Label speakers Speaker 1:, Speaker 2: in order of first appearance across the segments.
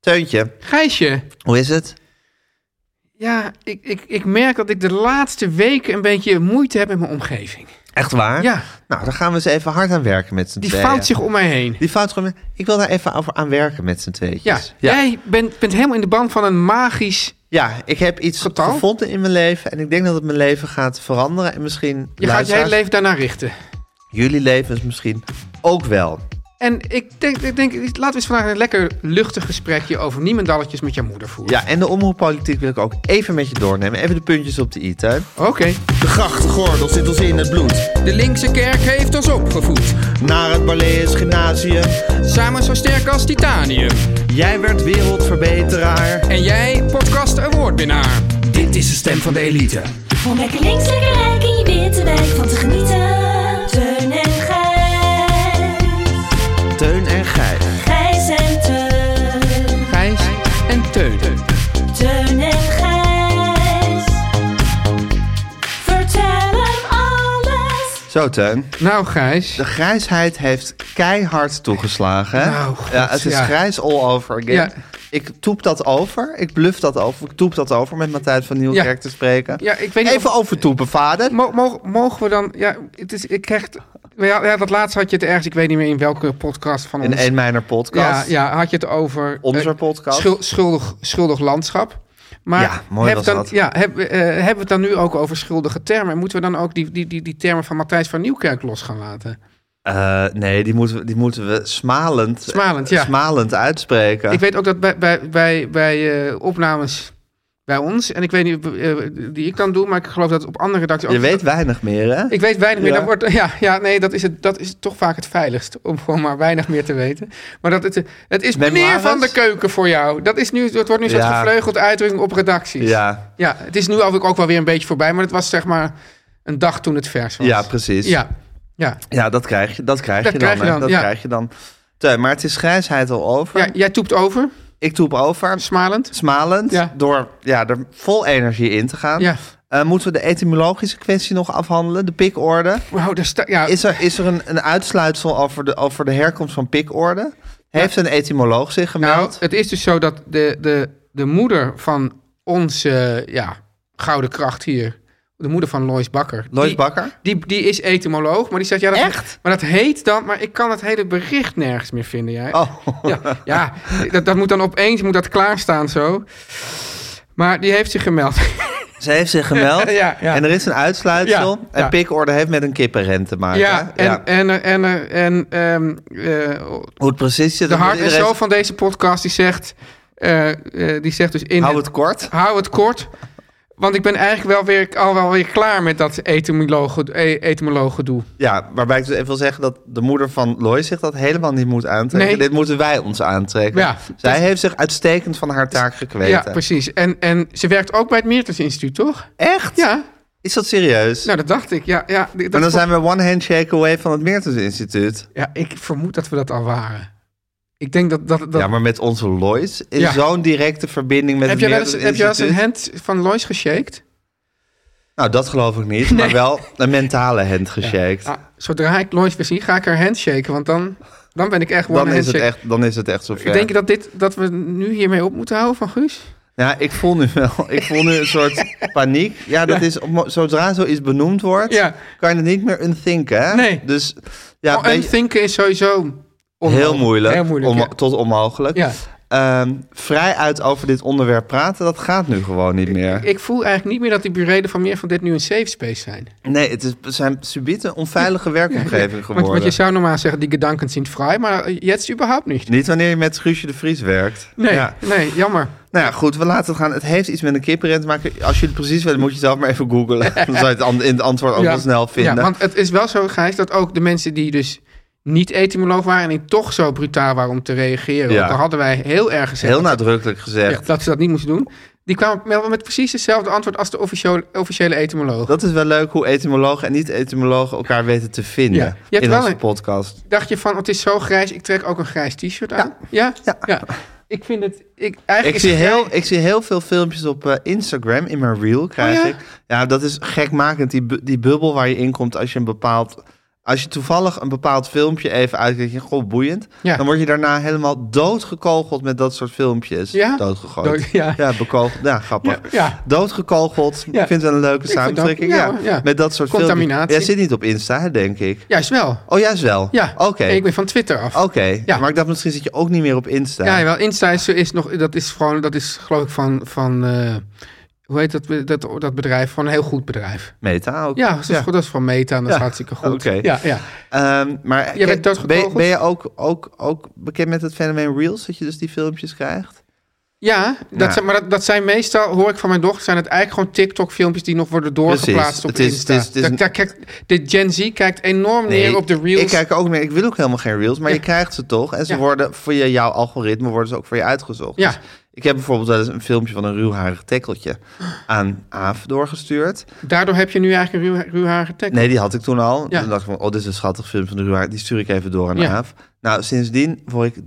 Speaker 1: Teuntje,
Speaker 2: Gijsje,
Speaker 1: hoe is het?
Speaker 2: ja, ik, ik, ik merk dat ik de laatste weken een beetje moeite heb met mijn omgeving.
Speaker 1: Echt waar?
Speaker 2: Ja.
Speaker 1: Nou, daar gaan we eens even hard aan werken met z'n
Speaker 2: Die
Speaker 1: tweeën.
Speaker 2: fout zich om mij heen.
Speaker 1: Die fout gewoon... Ik wil daar even over aan werken met z'n
Speaker 2: Ja,
Speaker 1: tweetjes.
Speaker 2: jij bent, bent helemaal in de band van een magisch...
Speaker 1: Ja, ik heb iets
Speaker 2: Getal?
Speaker 1: gevonden in mijn leven. En ik denk dat het mijn leven gaat veranderen. En misschien
Speaker 2: Je gaat je
Speaker 1: luisteraars-
Speaker 2: hele leven daarna richten.
Speaker 1: jullie levens misschien ook wel.
Speaker 2: En ik denk, ik denk, laten we eens vandaag een lekker luchtig gesprekje over niemendalletjes met jouw moeder voeren.
Speaker 1: Ja, en de omroeppolitiek wil ik ook even met je doornemen. Even de puntjes op de i, Teun.
Speaker 2: Oké.
Speaker 1: De grachtgordel zit ons in het bloed.
Speaker 3: De linkse kerk heeft ons opgevoed,
Speaker 1: Naar het Barlees Gymnasium.
Speaker 3: samen zo sterk als titanium.
Speaker 1: Jij werd wereldverbeteraar.
Speaker 3: En jij, podcast awardwinnaar. Dit is de stem van de elite.
Speaker 4: Om lekker links, lekker rijk in je witte wijk van te genieten. Teun en Gijs.
Speaker 1: Teun en Gijs.
Speaker 4: Gijs en Teun.
Speaker 3: Gijs en Teun.
Speaker 4: Teun en Gijs. Vertel hem alles.
Speaker 1: Zo, Teun.
Speaker 2: Nou, Gijs.
Speaker 1: De grijsheid heeft keihard toegeslagen. hè?
Speaker 2: Nou, goed,
Speaker 1: ja, het is
Speaker 2: ja.
Speaker 1: grijs all over again.
Speaker 2: Ja.
Speaker 1: Ik toep dat over. Ik bluf dat over. Ik toep dat over met Matthijs van Nieuwkerk
Speaker 2: Ja.
Speaker 1: te spreken.
Speaker 2: Ja, ik weet niet
Speaker 1: Even overtoepen, vader.
Speaker 2: Mo- mo- mogen we dan... Ja, het is, ik krijg... het- Ja, ja, dat laatst had je het ergens, ik weet niet meer in welke podcast van ons.
Speaker 1: In een mijner
Speaker 2: ja,
Speaker 1: podcast.
Speaker 2: ja, had je het over...
Speaker 1: Onze
Speaker 2: eh,
Speaker 1: podcast.
Speaker 2: schul- schuldig, schuldig landschap. Maar
Speaker 1: Ja, mooi
Speaker 2: heb
Speaker 1: was
Speaker 2: dan,
Speaker 1: dat.
Speaker 2: Ja, heb, eh, hebben we het dan nu ook over schuldige termen? En moeten we dan ook die, die, die, die termen van Matthijs van Nieuwkerk los gaan laten?
Speaker 1: Eh, nee, die moeten, we- die moeten we smalend,
Speaker 2: Smalend, ja.
Speaker 1: smalend uitspreken.
Speaker 2: Ik weet ook dat bij, bij, bij, bij eh, opnames bij ons, en ik weet niet eh, die ik dan doe, maar ik geloof dat op andere redacties ook...
Speaker 1: Je weet weinig meer, hè?
Speaker 2: Ik weet weinig meer.
Speaker 1: Ja.
Speaker 2: Dan wordt, ja, ja, nee, dat is, het, dat is toch vaak het veiligst. Om gewoon maar weinig meer te weten. Maar dat het, het is meneer
Speaker 1: Memoires?
Speaker 2: van de keuken voor jou. Dat is nu, het wordt nu een soort
Speaker 1: Ja.
Speaker 2: gevleugeld uitdrukking op redacties.
Speaker 1: Ja,
Speaker 2: Ja, het is nu ook, ook wel weer een beetje voorbij, maar het was zeg maar een dag toen het vers was.
Speaker 1: ja, precies.
Speaker 2: Ja, ja.
Speaker 1: Ja, dat krijg je, dat krijg
Speaker 2: Dat
Speaker 1: je dan.
Speaker 2: krijg je
Speaker 1: hè.
Speaker 2: dan,
Speaker 1: dat
Speaker 2: ja.
Speaker 1: krijg je dan. Teun, maar het is grijsheid al over.
Speaker 2: ja jij toept over,
Speaker 1: Ik toep over,
Speaker 2: smalend.
Speaker 1: smalend,
Speaker 2: Ja.
Speaker 1: door ja, er vol energie in te gaan.
Speaker 2: Ja.
Speaker 1: Eh, moeten we de etymologische kwestie nog afhandelen, de pikorde?
Speaker 2: Wauw, daar sta, ja,
Speaker 1: Is er, is er een, een uitsluitsel over de, over de herkomst van pikorde? Heeft een etymoloog zich
Speaker 2: nou,
Speaker 1: gemeld?
Speaker 2: het is dus zo dat de, de, de moeder van onze ja, gouden kracht hier, de moeder van Lois Bakker.
Speaker 1: Lois
Speaker 2: die-
Speaker 1: Bakker?
Speaker 2: Die, die is etymoloog, maar die zegt... Ja, dat,
Speaker 1: Echt?
Speaker 2: Maar dat heet dan... Maar ik kan het hele bericht nergens meer vinden, jij.
Speaker 1: Oh,
Speaker 2: Ja, ja dat, dat moet dan opeens moet dat klaarstaan zo. Maar die heeft zich gemeld.
Speaker 1: Ze heeft zich gemeld.
Speaker 2: Ja, ja.
Speaker 1: En er is een uitsluitsel.
Speaker 2: Ja,
Speaker 1: En
Speaker 2: ja.
Speaker 1: pikorde heeft met een kippenrent te maken.
Speaker 2: ja,
Speaker 1: hè?
Speaker 2: en, en, er- en, er- en, ehm, eh,
Speaker 1: Hoe het precies zit.
Speaker 2: de
Speaker 1: dat moet
Speaker 2: hart en
Speaker 1: iedereen-
Speaker 2: zo van deze podcast, die zegt... eh, eh, die zegt dus in...
Speaker 1: Hou het kort.
Speaker 2: hou het kort. Want ik ben eigenlijk wel weer, al wel weer klaar met dat etymologen- e- etymologendoe.
Speaker 1: Ja, waarbij ik dus even wil zeggen dat de moeder van Lois zich dat helemaal niet moet aantrekken.
Speaker 2: Nee.
Speaker 1: Dit moeten wij ons aantrekken.
Speaker 2: Ja.
Speaker 1: Zij heeft zich uitstekend van haar taak
Speaker 2: Ja,
Speaker 1: gekweten.
Speaker 2: precies. En, en ze werkt ook bij het Meertens Instituut, toch?
Speaker 1: Echt?
Speaker 2: Ja,
Speaker 1: Is dat serieus?
Speaker 2: Nou, dat dacht ik. Ja, ja, dat
Speaker 1: maar dan
Speaker 2: vond-
Speaker 1: zijn we one handshake away van het Meertens Instituut.
Speaker 2: ja, ik vermoed dat we dat al waren. Ik denk dat... dat, dat...
Speaker 1: Ja, maar met onze Lois in
Speaker 2: Ja.
Speaker 1: zo'n directe verbinding met
Speaker 2: heb, je
Speaker 1: het
Speaker 2: wel
Speaker 1: Meertens
Speaker 2: eens, heb je wel eens
Speaker 1: Instituut.
Speaker 2: een hand van Lois geshaked?
Speaker 1: Nou, dat geloof ik niet, maar wel een mentale hand geshaked.
Speaker 2: Ah, zodra ik Lois weer zie, ga ik haar handshaken. Want dan, dan ben ik echt one
Speaker 1: Dan is, het
Speaker 2: handshake.
Speaker 1: echt, dan is het echt zover.
Speaker 2: Ik denk dat, dit, dat we nu hiermee op moeten houden van Guus.
Speaker 1: Ja, ik voel nu wel. Ik voel nu een soort paniek. Ja, dat is op mo- zodra zoiets benoemd wordt,
Speaker 2: Ja.
Speaker 1: kan je het niet meer unthinken. Hè?
Speaker 2: Nee.
Speaker 1: Dus ja,
Speaker 2: oh,
Speaker 1: ben je-
Speaker 2: en thinken is sowieso Onmogelijk.
Speaker 1: Heel moeilijk.
Speaker 2: Heel moeilijk,
Speaker 1: om-
Speaker 2: ja.
Speaker 1: Tot onmogelijk.
Speaker 2: Ja.
Speaker 1: Ehm, vrij uit over dit onderwerp praten, dat gaat nu gewoon niet meer.
Speaker 2: Ik voel eigenlijk niet meer dat die burelen van meer van dit nu een safe space zijn.
Speaker 1: Nee, het is, we zijn subiet een onveilige werkomgeving
Speaker 2: Want,
Speaker 1: geworden.
Speaker 2: want je zou normaal zeggen, die gedanken zijn vrij, maar eh, jetzt überhaupt niet.
Speaker 1: Niet wanneer je met Guusje de Vries werkt.
Speaker 2: Nee,
Speaker 1: Ja.
Speaker 2: nee, jammer.
Speaker 1: Nou ja, goed, we laten het gaan. Het heeft iets met een kippenrent te maken. Als je het precies weet, moet je zelf maar even googlen. Dan zou je het an- in het antwoord ook
Speaker 2: Ja.
Speaker 1: wel snel vinden.
Speaker 2: Ja, want het is wel zo, Gijs, dat ook de mensen die dus niet etymoloog waren... en die toch zo brutaal waren om te reageren...
Speaker 1: Ja.
Speaker 2: want daar hadden wij heel erg gezegd
Speaker 1: Heel
Speaker 2: dat-
Speaker 1: nadrukkelijk gezegd.
Speaker 2: ja, dat ze dat niet moesten doen... die kwamen met, met precies hetzelfde antwoord als de officiële, officiële etymoloog.
Speaker 1: Dat is wel leuk hoe etymologen en niet-etymologen elkaar weten te vinden
Speaker 2: Ja. Je hebt
Speaker 1: in
Speaker 2: wel
Speaker 1: onze
Speaker 2: een-
Speaker 1: podcast.
Speaker 2: Dacht je van, het is zo grijs, ik trek ook een grijs t-shirt aan? Ja. Ja? Ik vind het... Ik, eigenlijk
Speaker 1: Ik
Speaker 2: is
Speaker 1: zie,
Speaker 2: het-
Speaker 1: heel, ik zie heel veel filmpjes op eh, Instagram, in mijn reel krijg
Speaker 2: Oh ja?
Speaker 1: ik. Ja, dat is gekmakend, die, bu- die bubbel waar je in komt als je een bepaald... Als je toevallig een bepaald filmpje even uitkijkt, je goh, boeiend.
Speaker 2: Ja.
Speaker 1: Dan word je daarna helemaal doodgekogeld met dat soort filmpjes.
Speaker 2: Ja?
Speaker 1: Doodgegooid.
Speaker 2: Dood- ja.
Speaker 1: bekogeld. Ja, grappig.
Speaker 2: Ja, ja.
Speaker 1: Doodgekogeld.
Speaker 2: Ja.
Speaker 1: Ik vind het een leuke
Speaker 2: vind het ook-
Speaker 1: samentrekking.
Speaker 2: ja,
Speaker 1: Ja,
Speaker 2: hoor, ja.
Speaker 1: Met dat soort
Speaker 2: Contaminatie.
Speaker 1: filmpjes. Jij zit niet op Insta, hè, denk ik.
Speaker 2: Juist wel.
Speaker 1: Oh, juist wel?
Speaker 2: Ja.
Speaker 1: Oké.
Speaker 2: En ik ben van Twitter af.
Speaker 1: Oké,
Speaker 2: Ja.
Speaker 1: maar ik dacht misschien zit je ook niet meer op Insta.
Speaker 2: Ja, wel. Insta is, is nog, dat is gewoon, dat is geloof ik van, van eh, hoe heet dat, dat, dat bedrijf? Van een heel goed bedrijf.
Speaker 1: Meta ook.
Speaker 2: Ja, dat is, Goed, dat is van Meta en dat is
Speaker 1: Ja,
Speaker 2: hartstikke goed.
Speaker 1: oké.
Speaker 2: Ja, ja.
Speaker 1: Ehm, maar kijk,
Speaker 2: bent doodgekogeld?
Speaker 1: ben, ben je ook, ook, ook bekend met het fenomeen Reels, dat je dus die filmpjes krijgt?
Speaker 2: ja dat
Speaker 1: Ja.
Speaker 2: Zijn, maar dat, dat zijn meestal, hoor ik van mijn dochter, zijn het eigenlijk gewoon TikTok-filmpjes die nog worden
Speaker 1: Precies.
Speaker 2: doorgeplaatst op
Speaker 1: Het is-
Speaker 2: Insta.
Speaker 1: het is- het is
Speaker 2: Dat-
Speaker 1: een-
Speaker 2: daar kijkt- de Gen Z kijkt enorm neer op de Reels.
Speaker 1: Ik kijk ook meer, ik wil ook helemaal geen Reels, maar je krijgt ze toch. En ze
Speaker 2: Ja.
Speaker 1: worden via jouw algoritme worden ze ook voor je uitgezocht.
Speaker 2: Ja.
Speaker 1: Dus ik heb bijvoorbeeld wel eens een filmpje van een ruwharig tekkeltje aan Aaf doorgestuurd.
Speaker 2: Daardoor heb je nu eigenlijk een ruw, ruwharige tekst.
Speaker 1: Nee, die had ik toen al.
Speaker 2: Ja.
Speaker 1: Toen dacht ik van, oh, dit is een schattig film van de ruwharig. Die stuur ik even door aan
Speaker 2: Ja.
Speaker 1: Aaf. Nou, sindsdien word ik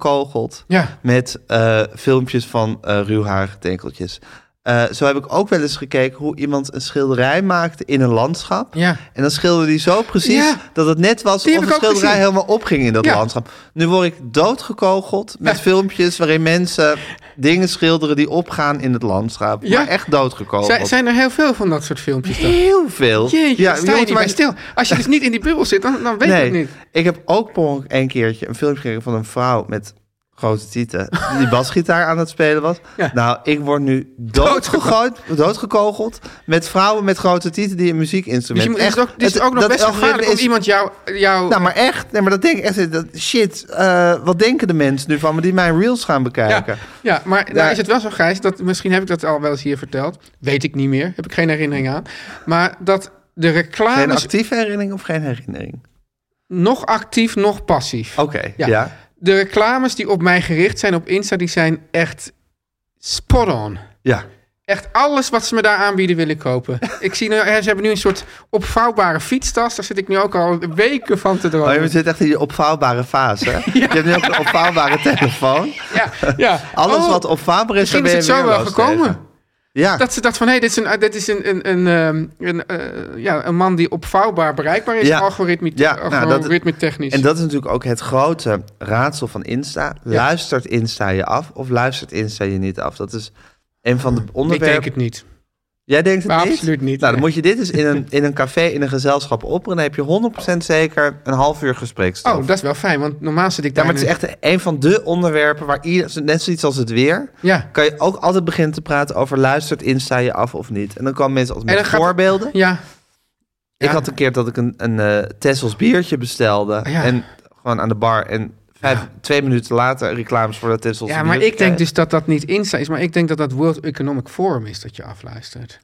Speaker 1: doodgekogeld.
Speaker 2: Ja.
Speaker 1: met eh, filmpjes van eh ruwharige tenkeltjes. Eh, zo heb ik ook wel eens gekeken hoe iemand een schilderij maakte in een landschap.
Speaker 2: Ja.
Speaker 1: En dan schilderde die zo precies
Speaker 2: Ja.
Speaker 1: dat het net was
Speaker 2: Die
Speaker 1: of de
Speaker 2: heb ik ook
Speaker 1: schilderij
Speaker 2: gezien.
Speaker 1: helemaal opging in dat
Speaker 2: Ja.
Speaker 1: landschap. Nu word ik doodgekogeld met filmpjes waarin mensen dingen schilderen die opgaan in het landschap.
Speaker 2: Ja.
Speaker 1: Maar echt doodgekogeld.
Speaker 2: Zijn, zijn er heel veel van dat soort filmpjes dan?
Speaker 1: Heel veel.
Speaker 2: Jeetje,
Speaker 1: Ja,
Speaker 2: ja,
Speaker 1: je
Speaker 2: sta je
Speaker 1: moet
Speaker 2: niet
Speaker 1: maar-
Speaker 2: bij stil. Als je dus niet in die bubbel zit, dan, dan weet ik
Speaker 1: nee,
Speaker 2: het niet.
Speaker 1: ik heb ook per ongeluk een keertje een filmpje gekregen van een vrouw met grote tieten die basgitaar aan het spelen was.
Speaker 2: Ja.
Speaker 1: Nou, ik word nu doodgegooid, doodgekogeld met vrouwen met grote tieten die een
Speaker 2: Dus
Speaker 1: muziekinstrument.
Speaker 2: je moet, echt, ook, dit is ook nog
Speaker 1: dat
Speaker 2: best
Speaker 1: algoritme
Speaker 2: gevaarlijk om
Speaker 1: is-
Speaker 2: iemand jou... jou
Speaker 1: Nou, maar echt, nee, maar dat denk ik echt. Dat, shit, eh, wat denken de mensen nu van me die mijn reels gaan
Speaker 2: ja,
Speaker 1: bekijken?
Speaker 2: ja, maar daar
Speaker 1: Daar-
Speaker 2: is het wel zo, Gijs, dat misschien heb ik dat al wel eens hier verteld. Weet ik niet meer, heb ik geen herinnering aan. Maar dat de
Speaker 1: Geen
Speaker 2: reclames
Speaker 1: actieve herinnering of geen herinnering?
Speaker 2: nog actief, nog passief.
Speaker 1: Oké,
Speaker 2: Ja.
Speaker 1: ja. Oh, ja.
Speaker 2: De reclames die op mij gericht zijn op Insta, die zijn echt spot on. Echt alles wat ze me daar aanbieden wil ik kopen. Ik zie nu, hè, ze hebben nu een soort opvouwbare fietstas. Daar zit ik nu ook al weken van te
Speaker 1: Oh,
Speaker 2: dromen.
Speaker 1: je zit echt in die opvouwbare fase. hè? Je hebt nu ook een opvouwbare telefoon.
Speaker 2: ja, ja.
Speaker 1: Alles
Speaker 2: Oh,
Speaker 1: wat op Faber is, daar
Speaker 2: Misschien
Speaker 1: ben
Speaker 2: is het
Speaker 1: je
Speaker 2: zo wel
Speaker 1: weerloos
Speaker 2: gekomen.
Speaker 1: tegen. Ja,
Speaker 2: Dat ze dacht van, hé, dit is een, eh, dit is een, een, een, ehm, een, eh, ja, een man die opvouwbaar bereikbaar is,
Speaker 1: Ja.
Speaker 2: algoritme,
Speaker 1: Ja, nou, dat-
Speaker 2: algoritme technisch.
Speaker 1: en dat is natuurlijk ook het grote raadsel van Insta. Luistert Insta je af of luistert Insta je niet af? Dat is een van de
Speaker 2: ik denk
Speaker 1: onderwerpen.
Speaker 2: het niet.
Speaker 1: Jij denkt het
Speaker 2: Maar
Speaker 1: niet?
Speaker 2: absoluut
Speaker 1: Nou,
Speaker 2: niet,
Speaker 1: dan
Speaker 2: nee.
Speaker 1: moet je dit eens in een, in een café, in een gezelschap op. En dan heb je 100% zeker een half uur gespreksstof.
Speaker 2: Oh, dat is wel fijn, want normaal zit ik
Speaker 1: ja,
Speaker 2: daar...
Speaker 1: maar het is
Speaker 2: nu-
Speaker 1: echt een van de onderwerpen waar ieder, net zoiets als het weer,
Speaker 2: Ja.
Speaker 1: kan je ook altijd beginnen te praten over luistert Insta je af of niet. En dan komen mensen altijd
Speaker 2: En
Speaker 1: met
Speaker 2: dan gaat-
Speaker 1: voorbeelden.
Speaker 2: Ja,
Speaker 1: Ik
Speaker 2: Ja. Oh,
Speaker 1: had een keer dat ik een, een eh Tessels biertje bestelde.
Speaker 2: Ja.
Speaker 1: En gewoon aan de bar. En vijf, twee minuten later reclames voor dat Tessels
Speaker 2: ja
Speaker 1: biertje
Speaker 2: maar ik denk
Speaker 1: kreeg.
Speaker 2: dus dat dat niet Insta is, maar ik denk dat dat World Economic Forum is dat je afluistert.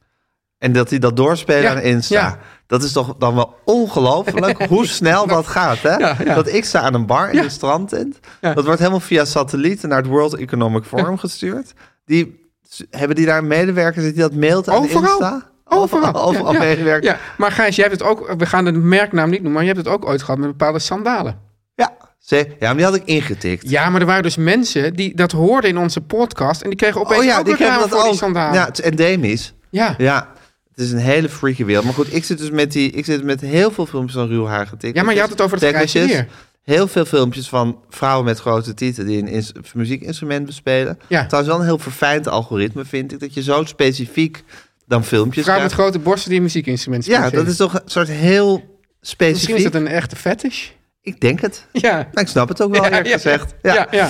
Speaker 1: En dat hij dat doorspelen
Speaker 2: Ja,
Speaker 1: aan Insta.
Speaker 2: ja. Nou,
Speaker 1: Dat is toch dan wel ongelooflijk hoe snel dat gaat. Hè?
Speaker 2: Ja, ja.
Speaker 1: Dat ik sta aan een bar in
Speaker 2: Ja.
Speaker 1: een strandtent.
Speaker 2: Ja.
Speaker 1: Dat wordt helemaal via satelliet naar het World Economic Forum gestuurd. Die, hebben die daar medewerkers die dat mailt aan
Speaker 2: Overal.
Speaker 1: Insta?
Speaker 2: Overal.
Speaker 1: Overal, overal
Speaker 2: ja, ja.
Speaker 1: medewerkers.
Speaker 2: Ja, maar Gijs, jij hebt het ook, we gaan de merknaam niet noemen, maar je hebt het ook ooit gehad met bepaalde sandalen.
Speaker 1: Ja. Ze- ja, maar die had ik ingetikt.
Speaker 2: Ja, maar er waren dus mensen die dat hoorden in onze podcast en die kregen opeens
Speaker 1: oh ja,
Speaker 2: ook
Speaker 1: die
Speaker 2: reclame
Speaker 1: kregen dat
Speaker 2: voor die
Speaker 1: ook.
Speaker 2: sandalen.
Speaker 1: Ja, het is endemisch.
Speaker 2: ja.
Speaker 1: Ja, het is een hele freaky wereld. Maar goed, ik zit dus met, die, ik zit met heel veel filmpjes van ruw haar getikt.
Speaker 2: Ja, maar je had het over het
Speaker 1: Tekkeltjes.
Speaker 2: grijze weer.
Speaker 1: Heel veel filmpjes van vrouwen met grote tieten die een ins- muziekinstrument bespelen.
Speaker 2: Ja.
Speaker 1: Trouwens wel een heel verfijnd algoritme, vind ik. Dat je zo specifiek dan filmpjes
Speaker 2: Vrouw met
Speaker 1: krijgt.
Speaker 2: grote borsten die een muziekinstrument speelt.
Speaker 1: Ja, dat is toch een soort heel specifiek.
Speaker 2: Misschien is dat een echte fetish.
Speaker 1: Ik denk het.
Speaker 2: Ja.
Speaker 1: Nou, ik snap het ook wel, eerlijk gezegd. Ja.
Speaker 2: ja, ja.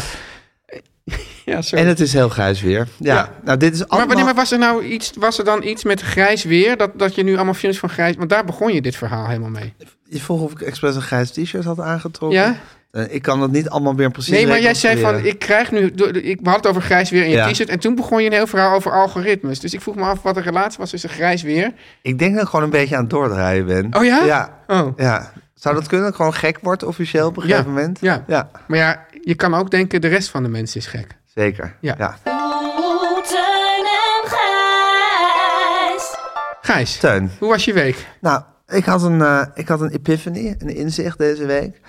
Speaker 2: Ja, sorry.
Speaker 1: En het is heel grijs weer. Ja.
Speaker 2: Ja.
Speaker 1: Nou, dit is
Speaker 2: maar,
Speaker 1: allemaal...
Speaker 2: wanneer- maar was er nou iets, was er dan iets met grijs weer? Dat, dat je nu allemaal films van grijs... Want daar begon je dit verhaal helemaal mee.
Speaker 1: Je vroeg of ik expres een grijs t-shirt had aangetrokken.
Speaker 2: Ja?
Speaker 1: Eh, ik kan dat niet allemaal weer precies
Speaker 2: Nee, maar jij zei van,
Speaker 1: reconstrueren.
Speaker 2: ik krijg nu... door- Ik had het over grijs weer in je
Speaker 1: Ja.
Speaker 2: t-shirt. En toen begon je een heel verhaal over algoritmes. Dus ik vroeg me af wat de relatie was tussen grijs weer...
Speaker 1: Ik denk dat ik gewoon een beetje aan het doordraaien ben.
Speaker 2: Oh ja?
Speaker 1: Ja.
Speaker 2: Oh.
Speaker 1: ja. Zou dat kunnen? Dat ik Gewoon gek wordt officieel op een
Speaker 2: Ja.
Speaker 1: gegeven moment?
Speaker 2: Ja.
Speaker 1: Ja,
Speaker 2: Maar ja, je kan ook denken, de rest van de mensen is gek.
Speaker 1: zeker.
Speaker 2: Ja.
Speaker 4: Oeh, Teun en Gijs.
Speaker 2: Gijs,
Speaker 1: Teun.
Speaker 2: hoe was je week?
Speaker 1: Nou, ik had een, eh, ik had een epiphany, een inzicht deze week.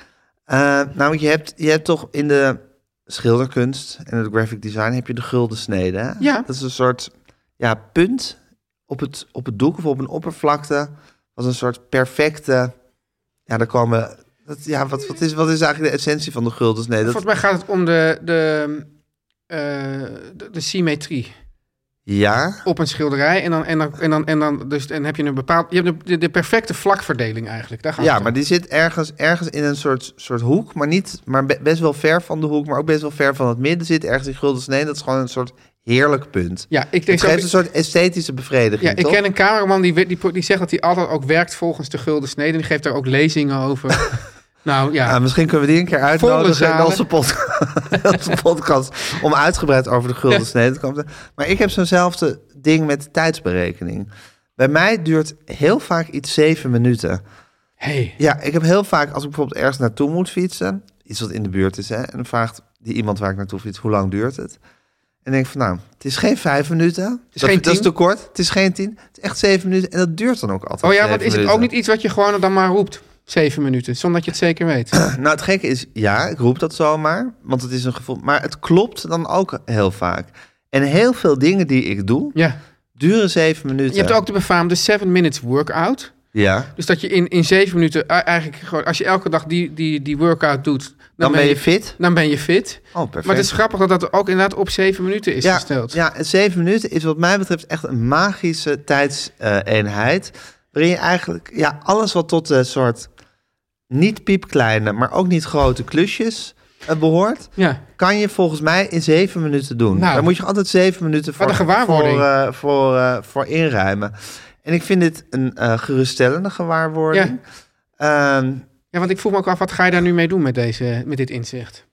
Speaker 1: Eh namelijk, je hebt, je hebt toch in de schilderkunst en het graphic design heb je de gulden snede. hè?
Speaker 2: Ja.
Speaker 1: Dat is een soort ja, punt op het, op het doek of op een oppervlakte. Als een soort perfecte. Ja, daar komen. Dat, ja, wat, wat, is, wat is eigenlijk de essentie van de gulden snede? Dat,
Speaker 2: Volgens mij gaat het om de, de, eh, de, de symmetrie
Speaker 1: ja.
Speaker 2: op een schilderij. En dan, en dan, en dan, en dan, dus, en heb je een bepaald. Je hebt de- de, de perfecte vlakverdeling eigenlijk. Daar gaat
Speaker 1: Ja,
Speaker 2: het om.
Speaker 1: maar die zit ergens, ergens in een soort, soort hoek, maar, niet, maar be- best wel ver van de hoek, maar ook best wel ver van het midden zit ergens die gulden snede. Dat is gewoon een soort heerlijk punt.
Speaker 2: Ja, ik denk
Speaker 1: Het geeft
Speaker 2: zo-
Speaker 1: een soort esthetische bevrediging,
Speaker 2: ja, ik
Speaker 1: toch?
Speaker 2: ken een cameraman die, we- die, pro- die zegt dat hij altijd ook werkt volgens de gulden snede. En die geeft daar ook lezingen over. nou ja,
Speaker 1: Ah, misschien kunnen we die een keer
Speaker 2: Volle
Speaker 1: uitnodigen in
Speaker 2: zalen.
Speaker 1: onze, pod- in onze podcast om uitgebreid over de gulden snede te komen. Maar ik heb zo'nzelfde ding met tijdsberekening. Bij mij duurt heel vaak iets zeven minuten.
Speaker 2: hey,
Speaker 1: Ja, ik heb heel vaak, als ik bijvoorbeeld ergens naartoe moet fietsen, iets wat in de buurt is, hè, en dan vraagt die iemand waar ik naartoe fiets, hoe lang duurt het? En denk ik van, nou, het is geen vijf minuten. Het
Speaker 2: geen
Speaker 1: dat, dat is
Speaker 2: tien.
Speaker 1: te kort. Het is geen tien. Het is echt zeven minuten. En dat duurt dan ook altijd.
Speaker 2: oh ja,
Speaker 1: zeven
Speaker 2: want is het
Speaker 1: minuten.
Speaker 2: ook niet iets wat je gewoon dan maar roept? Zeven minuten, zonder dat je het zeker weet.
Speaker 1: Nou, het gekke is, ja, ik roep dat zomaar, want het is een gevoel. Maar het klopt dan ook heel vaak. En heel veel dingen die ik doe,
Speaker 2: ja.
Speaker 1: duren zeven minuten.
Speaker 2: Je hebt ook de befaamde 7 minutes workout.
Speaker 1: Ja,
Speaker 2: Dus dat je in, in zeven minuten eh, eigenlijk gewoon, als je elke dag die, die, die workout doet,
Speaker 1: dan
Speaker 2: dan,
Speaker 1: ben je fit.
Speaker 2: dan ben je fit.
Speaker 1: Oh, perfect.
Speaker 2: Maar het is grappig dat dat ook inderdaad op zeven minuten is
Speaker 1: ja,
Speaker 2: gesteld.
Speaker 1: Ja, en zeven minuten is wat mij betreft echt een magische tijdseenheid. eh, Waarin je eigenlijk ja, alles wat tot een soort niet piepkleine, maar ook niet grote klusjes eh, behoort,
Speaker 2: Ja.
Speaker 1: kan je volgens mij in zeven minuten doen.
Speaker 2: Nou.
Speaker 1: Daar moet je altijd zeven minuten voor,
Speaker 2: Wat
Speaker 1: voor,
Speaker 2: een gewaarwording.
Speaker 1: eh, voor, eh, voor inruimen. En ik vind dit een eh, geruststellende gewaarwording.
Speaker 2: Ja.
Speaker 1: Ehm,
Speaker 2: ja, want ik vroeg me ook af, wat ga je daar nu mee doen met, deze, met dit inzicht?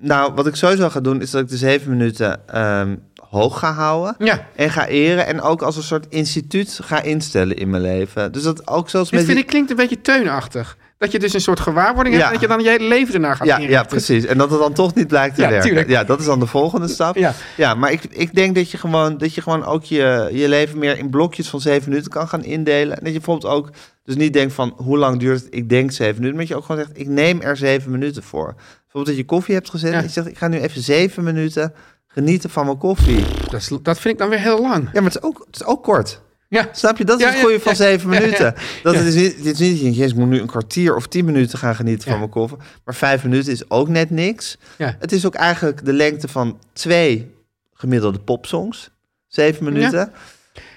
Speaker 1: nou, wat ik sowieso ga doen, is dat ik de zeven minuten ehm, hoog ga houden.
Speaker 2: Ja,
Speaker 1: En ga eren en ook als een soort instituut ga instellen in mijn leven. Dus dat ook zelfs
Speaker 2: dit
Speaker 1: met...
Speaker 2: vind
Speaker 1: die-
Speaker 2: ik, klinkt een beetje teunachtig. Dat je dus een soort gewaarwording
Speaker 1: Ja.
Speaker 2: hebt en dat je dan je hele leven ernaar gaat
Speaker 1: ja, ja,
Speaker 2: inrichten.
Speaker 1: precies. En dat het dan toch niet blijkt te
Speaker 2: Ja,
Speaker 1: werken.
Speaker 2: tuurlijk.
Speaker 1: Ja, dat is dan de volgende stap.
Speaker 2: Ja.
Speaker 1: maar ik, ik denk dat je gewoon, dat je gewoon ook je, je leven meer in blokjes van zeven minuten kan gaan indelen. En dat je bijvoorbeeld ook dus niet denkt van hoe lang duurt het, ik denk zeven minuten. Maar dat je ook gewoon zegt, ik neem er zeven minuten voor. Bijvoorbeeld dat je koffie hebt gezet
Speaker 2: Ja.
Speaker 1: en je zegt, ik ga nu even zeven minuten genieten van mijn koffie.
Speaker 2: Dat, is- dat vind ik dan weer heel lang.
Speaker 1: Ja, maar het is ook, het is ook kort.
Speaker 2: Ja,
Speaker 1: Snap je? Dat is
Speaker 2: Ja,
Speaker 1: het goede
Speaker 2: ja,
Speaker 1: van
Speaker 2: ja,
Speaker 1: zeven
Speaker 2: ja, ja.
Speaker 1: minuten. Dat
Speaker 2: Ja.
Speaker 1: Het is niet, het is niet dat je denkt, jezus, ik moet nu een kwartier of tien minuten gaan genieten van
Speaker 2: Ja.
Speaker 1: mijn koffer. Maar vijf minuten is ook net niks.
Speaker 2: ja.
Speaker 1: Het is ook eigenlijk de lengte van twee gemiddelde popsongs. Zeven minuten.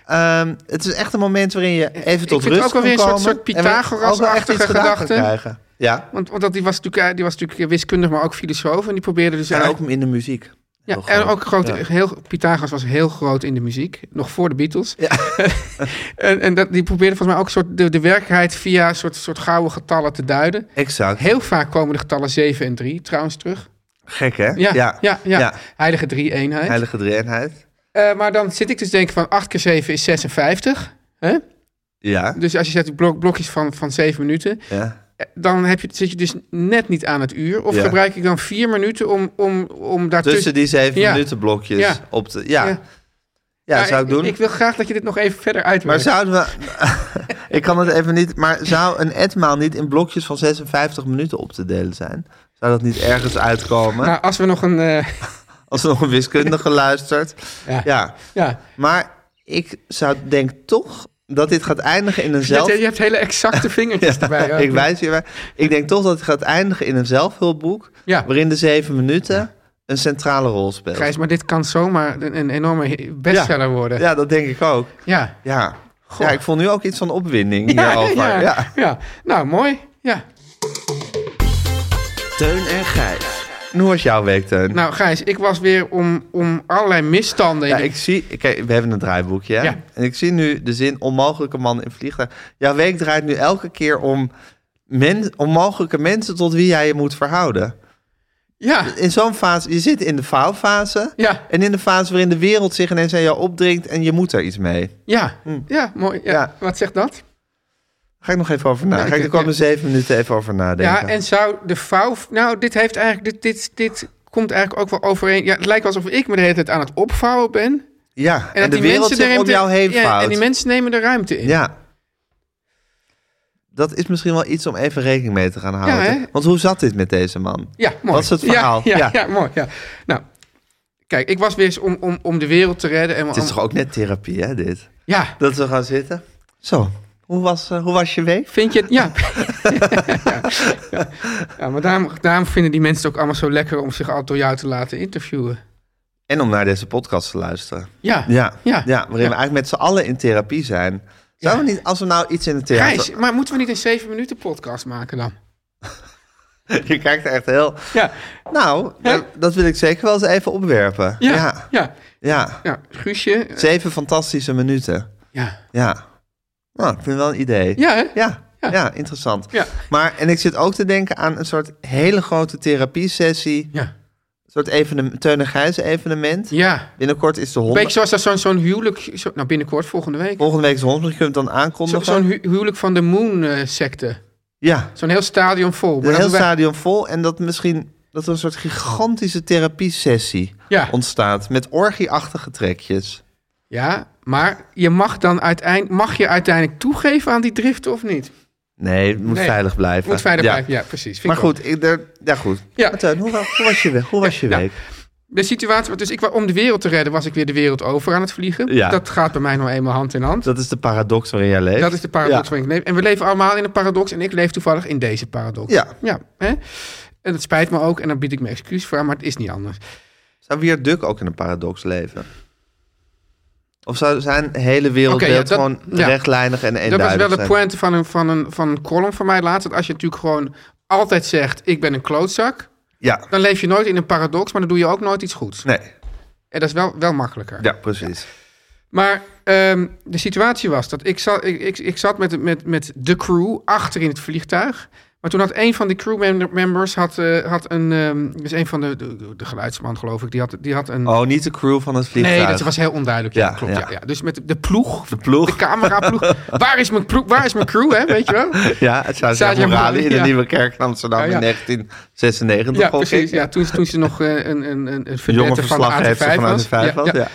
Speaker 1: Ehm, het is echt een moment waarin je even tot
Speaker 2: vind het
Speaker 1: rust kan
Speaker 2: ook wel weer een
Speaker 1: komen.
Speaker 2: soort- soort
Speaker 1: en waarin je ook wel echt iets
Speaker 2: Pythagoras-achtige
Speaker 1: gedaan kan
Speaker 2: gedachte.
Speaker 1: krijgen. Ja,
Speaker 2: Want, want dat, die, was natuurlijk, eh, die was natuurlijk wiskundig, maar ook filosoof. En die probeerde dus
Speaker 1: en
Speaker 2: eigenlijk-
Speaker 1: ook in de muziek.
Speaker 2: Ja,
Speaker 1: Heel
Speaker 2: en ook groot,
Speaker 1: Ja.
Speaker 2: heel, Pythagoras was heel groot in de muziek, nog voor de Beatles. en en dat, die probeerde volgens mij ook soort de, de werkelijkheid via soort, soort gouden getallen te duiden.
Speaker 1: Exact.
Speaker 2: Heel vaak komen de getallen 7 en 3 trouwens terug.
Speaker 1: Gek, hè?
Speaker 2: Ja, ja, ja.
Speaker 1: Ja.
Speaker 2: heilige drie-eenheid.
Speaker 1: Heilige drieënheid.
Speaker 2: Eh, maar dan zit ik dus te denken van 8 keer 7 is 56. Hè?
Speaker 1: Ja,
Speaker 2: Dus als je zet blok, blokjes van, van 7 minuten,
Speaker 1: ja.
Speaker 2: eh, dan heb je, zit je dus net niet aan het uur. Of
Speaker 1: Ja.
Speaker 2: gebruik ik dan 4 minuten om, om, om
Speaker 1: Tussen
Speaker 2: daartussen...
Speaker 1: die zeven
Speaker 2: Dus Ja.
Speaker 1: minuten blokjes
Speaker 2: Ja.
Speaker 1: op de... Ja, ja.
Speaker 2: Ja.
Speaker 1: zou ik doen.
Speaker 2: Nou, Ik, wil graag dat je dit nog even verder
Speaker 1: Maar
Speaker 2: uitwerkt.
Speaker 1: zouden we... ik kan het even niet... Maar zou een etmaal niet in blokjes van 56 minuten op te delen zijn? Zou dat niet ergens uitkomen?
Speaker 2: Nou, als we nog een... eh,
Speaker 1: Als er nog een wiskundige luistert.
Speaker 2: Ja.
Speaker 1: Ja.
Speaker 2: ja.
Speaker 1: Maar ik zou denk toch dat dit gaat eindigen in een
Speaker 2: Je,
Speaker 1: zelf...
Speaker 2: hebt, je hebt hele exacte vingertjes erbij. ook.
Speaker 1: ik wijs hierbij. Ik denk toch dat het gaat eindigen in een zelfhulpboek...
Speaker 2: Ja.
Speaker 1: waarin de zeven minuten een centrale rol speelt.
Speaker 2: Gijs, maar dit kan zomaar een, een enorme bestseller worden. Ja.
Speaker 1: Ja, dat denk ik ook.
Speaker 2: Ja.
Speaker 1: Ja.
Speaker 2: Goh.
Speaker 1: ja, ik voel nu ook iets van opwinding
Speaker 2: Ja,
Speaker 1: hierover.
Speaker 2: ja. Nou, mooi. Ja.
Speaker 1: Teun en Gijs. En hoe was jouw week, Teun?
Speaker 2: Nou, Gijs, ik was weer om, om allerlei misstanden. in
Speaker 1: ja,
Speaker 2: de-
Speaker 1: ik zie... Kijk, we hebben een draaiboekje, hè?
Speaker 2: Ja.
Speaker 1: En ik zie nu de zin onmogelijke mannen in vliegtuig. Jouw week draait nu elke keer om men, onmogelijke mensen tot wie jij je moet verhouden.
Speaker 2: ja,
Speaker 1: In zo'n fase... Je zit in de faalfase.
Speaker 2: ja,
Speaker 1: En in de fase waarin de wereld zich ineens aan jou opdringt... en je moet daar iets mee.
Speaker 2: ja, ja, mooi. Ja.
Speaker 1: Hmm. Ja.
Speaker 2: Wat zegt dat?
Speaker 1: Ga ik nog even over
Speaker 2: Ja,
Speaker 1: nadenken. Ga ik
Speaker 2: ik-
Speaker 1: de komende zeven minuten even over nadenken.
Speaker 2: Ja, en zou de vouw... Nou, dit heeft eigenlijk... Dit, dit, dit komt eigenlijk ook wel overeen... Ja, het lijkt alsof ik me de hele tijd aan het opvouwen ben. En,
Speaker 1: Ja, en,
Speaker 2: dat
Speaker 1: de
Speaker 2: die
Speaker 1: wereld
Speaker 2: mensen
Speaker 1: zich
Speaker 2: de
Speaker 1: om
Speaker 2: ruimte-
Speaker 1: jou heen
Speaker 2: ja,
Speaker 1: fout.
Speaker 2: En die mensen nemen de ruimte in.
Speaker 1: Ja. Dat is misschien wel iets om even rekening mee te gaan houden.
Speaker 2: hè?
Speaker 1: Want hoe zat dit met deze man?
Speaker 2: Ja, mooi.
Speaker 1: Dat is het verhaal.
Speaker 2: Ja, ja,
Speaker 1: Ja.
Speaker 2: ja, mooi. Ja. Nou, kijk, ik was weer eens om, om, om de wereld te redden. En
Speaker 1: Het is toch ook net therapie, hè, dit?
Speaker 2: Ja,
Speaker 1: Dat we gaan zitten. Zo, hoe was, eh, hoe was je week?
Speaker 2: vind je het... Ja. ja. ja, maar daarom, daarom vinden die mensen het ook allemaal zo lekker... om zich altijd door jou te laten interviewen.
Speaker 1: En om naar deze podcast te luisteren.
Speaker 2: Ja,
Speaker 1: Ja, ja.
Speaker 2: Ja.
Speaker 1: waarin we eigenlijk met z'n allen in therapie zijn. Zouden we niet, als we nou iets in het theater...
Speaker 2: Gijs, maar moeten we niet een 7 minuten podcast maken dan?
Speaker 1: Je kijkt echt heel...
Speaker 2: Ja,
Speaker 1: Nou,
Speaker 2: Hè?
Speaker 1: dat- dat wil ik zeker wel eens even opwerpen.
Speaker 2: ja, ja.
Speaker 1: ja.
Speaker 2: ja.
Speaker 1: ja.
Speaker 2: Guusje. eh,
Speaker 1: Zeven fantastische minuten.
Speaker 2: Ja.
Speaker 1: Ja. Nou, ik vind het wel een idee.
Speaker 2: Ja, hè?
Speaker 1: Ja,
Speaker 2: Ja.
Speaker 1: ja. interessant.
Speaker 2: Ja.
Speaker 1: Maar, en ik zit ook te denken aan een soort hele grote therapiesessie.
Speaker 2: Ja.
Speaker 1: Een soort evenement, Teun en Gijs evenement.
Speaker 2: Ja.
Speaker 1: Binnenkort is de honderd...
Speaker 2: Beetje zoals dat zo'n zo'n huwelijk... zo- nou, binnenkort, volgende week.
Speaker 1: Volgende week is de honderd, je kunt het dan
Speaker 2: Zo-
Speaker 1: aankondigen.
Speaker 2: Zo'n hu- huwelijk van de Moon-secte.
Speaker 1: Ja,
Speaker 2: Zo'n heel stadion vol. Maar
Speaker 1: een
Speaker 2: dat
Speaker 1: heel
Speaker 2: doen wij-
Speaker 1: stadion vol. En dat misschien dat er een soort gigantische therapiesessie
Speaker 2: Ja.
Speaker 1: ontstaat. Met orgieachtige trekjes.
Speaker 2: Ja, maar je mag, dan uiteind... mag je uiteindelijk toegeven aan die driften of niet?
Speaker 1: Nee, het moet
Speaker 2: Nee,
Speaker 1: veilig blijven.
Speaker 2: Moet veilig
Speaker 1: Ja.
Speaker 2: blijven, ja, precies. Vind
Speaker 1: Maar
Speaker 2: ik ook.
Speaker 1: goed, ik, er, ja goed.
Speaker 2: Ja.
Speaker 1: Maar Teun, hoe, wa- hoe was je, we- hoe was je
Speaker 2: Ja.
Speaker 1: week?
Speaker 2: De situatie, dus ik, wa- om de wereld te redden, was ik weer de wereld over aan het vliegen.
Speaker 1: Ja.
Speaker 2: Dat gaat bij mij nou eenmaal hand in hand.
Speaker 1: Dat is de paradox waarin jij leeft.
Speaker 2: Dat is de paradox
Speaker 1: Ja.
Speaker 2: waarin ik leef. En we leven allemaal in een paradox. En ik leef toevallig in deze paradox.
Speaker 1: Ja.
Speaker 2: ja hè? En dat spijt me ook. En dan bied ik me excuus voor aan. Maar het is niet anders.
Speaker 1: Zou Wierd Duk ook in een paradox leven? Of zou zijn hele wereldbeeld
Speaker 2: Oké, ja, dat-
Speaker 1: gewoon
Speaker 2: ja.
Speaker 1: rechtlijnig en
Speaker 2: dat was
Speaker 1: eenduidig
Speaker 2: wel de
Speaker 1: zijn?
Speaker 2: pointe van een, van, een, van een column van mij laatst. Dat als je natuurlijk gewoon altijd zegt: Ik ben een klootzak.
Speaker 1: Ja,
Speaker 2: Dan leef je nooit in een paradox. Maar dan doe je ook nooit iets goeds.
Speaker 1: nee.
Speaker 2: En dat is wel, wel makkelijker.
Speaker 1: Ja, precies.
Speaker 2: Maar ehm, de situatie was dat ik zat, ik, ik, ik zat met, met, met de crew achter in het vliegtuig. Maar toen had een van die crewmembers had, eh, had een. ehm, dus een van de, de, de geluidsman, geloof ik. Die had, die had een.
Speaker 1: Oh, niet de crew van het vliegtuig.
Speaker 2: nee, dat was heel onduidelijk. Ja,
Speaker 1: Ja,
Speaker 2: klopt. Ja.
Speaker 1: ja.
Speaker 2: Ja, Dus met de, de ploeg.
Speaker 1: De ploeg.
Speaker 2: De cameraploeg. waar, is mijn ploeg waar is mijn crew, hè? Weet je wel?
Speaker 1: Ja, het zou
Speaker 2: Staat
Speaker 1: zijn
Speaker 2: je
Speaker 1: Morali in de
Speaker 2: ja.
Speaker 1: Nieuwe Kerk van Amsterdam
Speaker 2: Ja, ja.
Speaker 1: in 1996.
Speaker 2: Ja,
Speaker 1: gok ik.
Speaker 2: precies. Ja, toen, toen ze nog eh, een, een, een, een
Speaker 1: Een jonge
Speaker 2: vedette van de
Speaker 1: verslaggever
Speaker 2: AT5
Speaker 1: van
Speaker 2: was.
Speaker 1: de vijf was. Ja,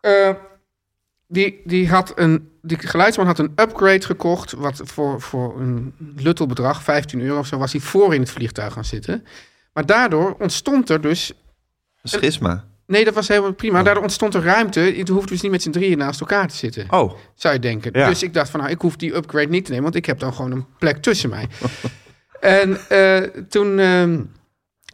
Speaker 2: Eh, die, die had een. Die geluidsman had een upgrade gekocht. Wat voor, voor een luttel bedrag, 15 euro of zo, was hij voor in het vliegtuig gaan zitten. Maar daardoor ontstond er dus.
Speaker 1: Een Schisma.
Speaker 2: Nee, dat was helemaal prima. Daardoor ontstond er ruimte. Je hoeft dus niet met z'n drieën naast elkaar te zitten.
Speaker 1: Oh,
Speaker 2: Zou je denken.
Speaker 1: Ja.
Speaker 2: Dus ik dacht van nou, ik hoef die upgrade niet te nemen. Want ik heb dan gewoon een plek tussen mij. en eh, toen. ehm,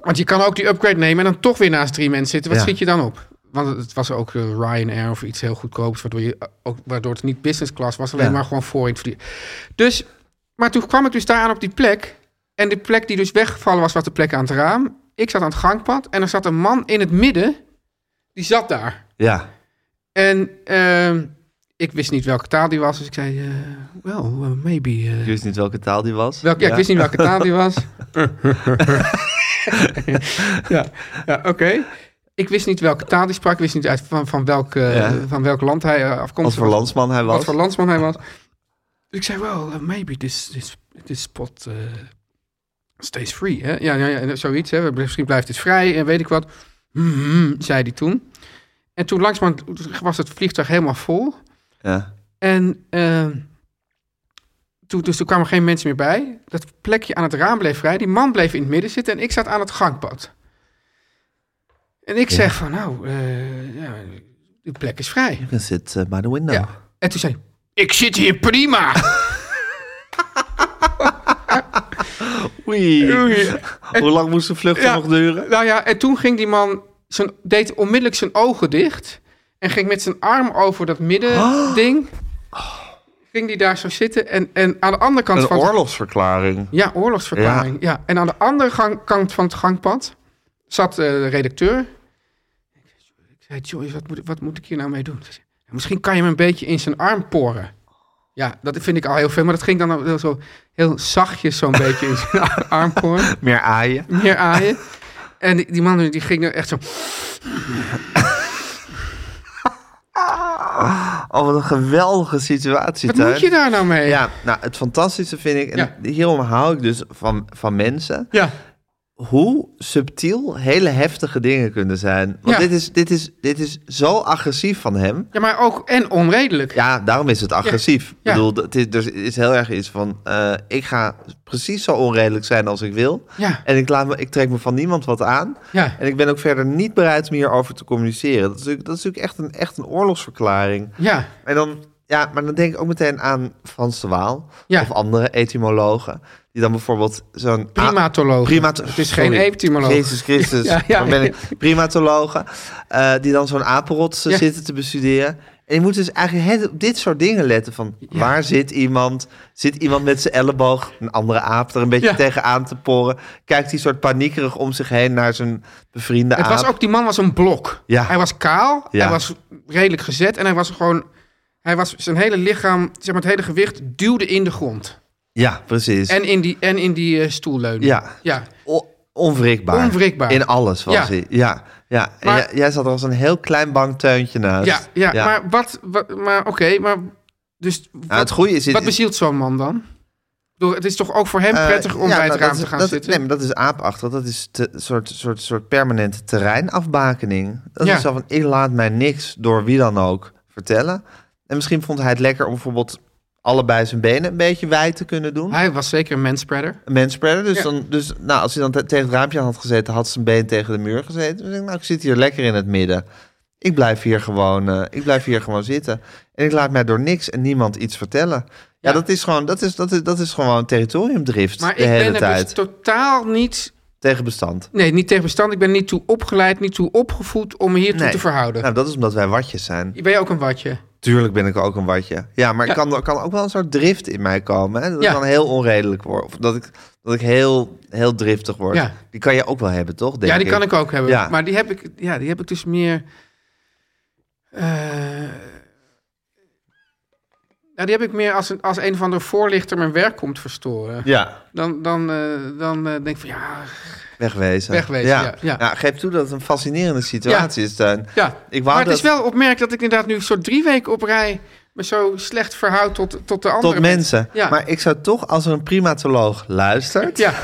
Speaker 2: want je kan ook die upgrade nemen en dan toch weer naast drie mensen zitten. Wat
Speaker 1: Ja.
Speaker 2: schiet je dan op? Want het was ook eh, Ryanair of iets heel goedkoops, waardoor, je, eh, ook, waardoor het niet business class was, alleen
Speaker 1: Ja.
Speaker 2: maar gewoon voor in het vliegen. Dus, maar toen kwam ik dus daar aan op die plek. En de plek die dus weggevallen was, was de plek aan het raam. Ik zat aan het gangpad en er zat een man in het midden. Die zat daar.
Speaker 1: ja.
Speaker 2: En ehm, ik wist niet welke taal die was, dus ik zei, eh, well, eh, maybe... eh,
Speaker 1: Ik wist niet welke taal die was.
Speaker 2: Welk, ja, ik wist niet welke taal die was. ja, ja oké. Ik wist niet welke taal die sprak. Ik wist niet uit van, van, welk, eh,
Speaker 1: Ja.
Speaker 2: van welk land hij eh,
Speaker 1: Wat
Speaker 2: afkomstig
Speaker 1: voor
Speaker 2: was.
Speaker 1: landsman hij was.
Speaker 2: Wat voor landsman hij was. Dus ik zei, well, uh, maybe this, this, this spot eh, stays free. Hè? Ja, ja, ja, en zoiets. Hè? Misschien blijft het vrij en weet ik wat. Mhm, zei hij toen. En toen langzamerhand was het vliegtuig helemaal vol.
Speaker 1: Ja.
Speaker 2: En eh, toen, dus toen kwamen geen mensen meer bij. Dat plekje aan het raam bleef vrij. Die man bleef in het midden zitten en ik zat aan het gangpad. En ik zeg van, nou, eh ja, de plek is vrij.
Speaker 1: Ik zit eh, by the window.
Speaker 2: Ja. En toen zei hij, ik zit hier prima.
Speaker 1: Oei.
Speaker 2: Oei.
Speaker 1: Hoe lang moest de vlucht
Speaker 2: Ja.
Speaker 1: nog duren?
Speaker 2: nou ja, en toen ging die man, zijn, deed onmiddellijk
Speaker 1: Oh.
Speaker 2: zijn ogen dicht. En ging met zijn arm over dat middending. ging die daar zo zitten. En, en aan de andere kant
Speaker 1: Een
Speaker 2: van... het-
Speaker 1: oorlogsverklaring.
Speaker 2: Ja, oorlogsverklaring. Ja. En aan de andere gang- kant van het gangpad zat eh, de redacteur. Ik zei, Joyce, wat moet, wat moet ik hier nou mee doen? Ze zei, Misschien kan je hem een beetje in zijn arm poren. Ja, dat vind ik al heel veel. Maar dat ging dan al heel zo heel zachtjes zo'n beetje in zijn arm poren.
Speaker 1: Meer aaien.
Speaker 2: Meer aaien. En die, die man die ging er echt zo...
Speaker 1: Oh, wat een geweldige situatie
Speaker 2: Wat
Speaker 1: thuis.
Speaker 2: moet je daar nou mee?
Speaker 1: Ja, nou, het fantastische vind ik, en
Speaker 2: Ja.
Speaker 1: hierom hou ik dus van, van mensen,
Speaker 2: ja.
Speaker 1: hoe subtiel hele heftige dingen kunnen zijn. Want
Speaker 2: Ja.
Speaker 1: dit, is, dit, is, dit is zo agressief van hem.
Speaker 2: Ja, maar ook en onredelijk.
Speaker 1: Ja, daarom is het agressief. Ik
Speaker 2: Ja.
Speaker 1: bedoel, het is, er is heel erg iets van, eh, ik ga precies zo onredelijk zijn als ik wil.
Speaker 2: Ja.
Speaker 1: En ik, laat me, ik trek me van niemand wat aan.
Speaker 2: Ja.
Speaker 1: En ik ben ook verder niet bereid om hierover te communiceren. Dat is natuurlijk, dat is natuurlijk echt, een, echt een oorlogsverklaring.
Speaker 2: Ja.
Speaker 1: En dan, ja, maar dan denk ik ook meteen aan Frans de Waal
Speaker 2: Ja.
Speaker 1: of andere etymologen. Die dan bijvoorbeeld zo'n...
Speaker 2: Primatoloog.
Speaker 1: Primato-
Speaker 2: Het is geen
Speaker 1: Sorry.
Speaker 2: etymoloog.
Speaker 1: Jezus Christus,
Speaker 2: Ja, ja,
Speaker 1: waar ben ik?
Speaker 2: ja.
Speaker 1: Primatologen, eh, die dan zo'n apenrots eh,
Speaker 2: Ja.
Speaker 1: zitten te bestuderen. En je moet dus eigenlijk heel- op dit soort dingen letten. Van, Waar zit iemand? Zit iemand met zijn elleboog, een andere aap, er een beetje
Speaker 2: Ja.
Speaker 1: tegenaan te poren? Kijkt die soort paniekerig om zich heen naar zijn bevriende
Speaker 2: Het
Speaker 1: aap?
Speaker 2: was ook, die man was een blok.
Speaker 1: Ja.
Speaker 2: Hij was kaal,
Speaker 1: Ja.
Speaker 2: hij was redelijk gezet en hij was gewoon... Hij was zijn hele lichaam, zeg maar het hele gewicht, duwde in de grond.
Speaker 1: Ja, precies.
Speaker 2: En in die, en in die eh, stoelleuning.
Speaker 1: Ja.
Speaker 2: ja.
Speaker 1: O- onwrikbaar.
Speaker 2: Onwrikbaar.
Speaker 1: In alles was
Speaker 2: Ja.
Speaker 1: hij. Ja, ja. En
Speaker 2: Maar-
Speaker 1: jij, jij zat er als een heel klein bangteuntje naast.
Speaker 2: Ja, ja, maar wat... wat- maar oké, maar... Dus wat,
Speaker 1: Nou, het goede is...
Speaker 2: wat bezielt zo'n man dan? Ik bedoel, Het is toch ook voor hem
Speaker 1: eh,
Speaker 2: prettig om
Speaker 1: ja,
Speaker 2: bij het
Speaker 1: nou,
Speaker 2: raam
Speaker 1: dat is-
Speaker 2: te gaan
Speaker 1: dat-
Speaker 2: zitten?
Speaker 1: Nee, maar dat is aapachtig. Dat is te- een soort, soort, soort permanente terreinafbakening. Dat
Speaker 2: Ja.
Speaker 1: is zo van, ik laat mij niks door wie dan ook vertellen. En misschien vond hij het lekker om bijvoorbeeld allebei zijn benen een beetje wijd te kunnen doen.
Speaker 2: Hij was zeker een manspreader.
Speaker 1: Een manspreader. Dus,
Speaker 2: Ja.
Speaker 1: dan, dus nou, als hij dan te- tegen het raampje aan had gezeten, had zijn been tegen de muur gezeten. Dus ik, denk, nou, ik zit hier lekker in het midden. Ik blijf hier gewoon, eh, ik blijf hier gewoon zitten. En ik laat mij door niks en niemand iets vertellen. Ja,
Speaker 2: Ja.
Speaker 1: dat is gewoon, dat is, dat is, dat is gewoon territoriumdrift
Speaker 2: Maar
Speaker 1: de
Speaker 2: ik
Speaker 1: hele
Speaker 2: ben er
Speaker 1: tijd.
Speaker 2: dus totaal niet...
Speaker 1: Tegen bestand.
Speaker 2: Nee, niet tegen bestand. Ik ben er niet toe opgeleid, niet toe opgevoed om me hiertoe
Speaker 1: Nee.
Speaker 2: te verhouden.
Speaker 1: Nou, dat is omdat wij watjes zijn.
Speaker 2: Ben je ook een watje?
Speaker 1: Tuurlijk ben ik ook een watje. Ja, maar ik
Speaker 2: Ja.
Speaker 1: kan, er kan ook wel een soort drift in mij komen. Hè? Dat
Speaker 2: Ja.
Speaker 1: kan heel onredelijk worden. Of dat ik, dat ik heel, heel driftig word.
Speaker 2: Ja.
Speaker 1: Die kan je ook wel hebben, toch? Denk
Speaker 2: ja, die kan ik ook hebben.
Speaker 1: Ja.
Speaker 2: Maar die heb ik, ja, die heb ik dus meer. eh, ja, nou, die heb ik meer als een, als een van de voorlichter mijn werk komt verstoren.
Speaker 1: Ja.
Speaker 2: Dan, dan, eh, dan eh, denk ik van ja,
Speaker 1: Wegwezen.
Speaker 2: Wegwezen, ja, ja.
Speaker 1: geef toe dat het een fascinerende situatie is, Teun.
Speaker 2: ja.
Speaker 1: Ik wou
Speaker 2: maar het
Speaker 1: dat
Speaker 2: is wel opmerkelijk dat ik inderdaad nu soort drie weken op rij me zo slecht verhoud tot, tot de andere
Speaker 1: tot mensen.
Speaker 2: Ja.
Speaker 1: Maar ik zou toch, als er een primatoloog luistert...
Speaker 2: Ja,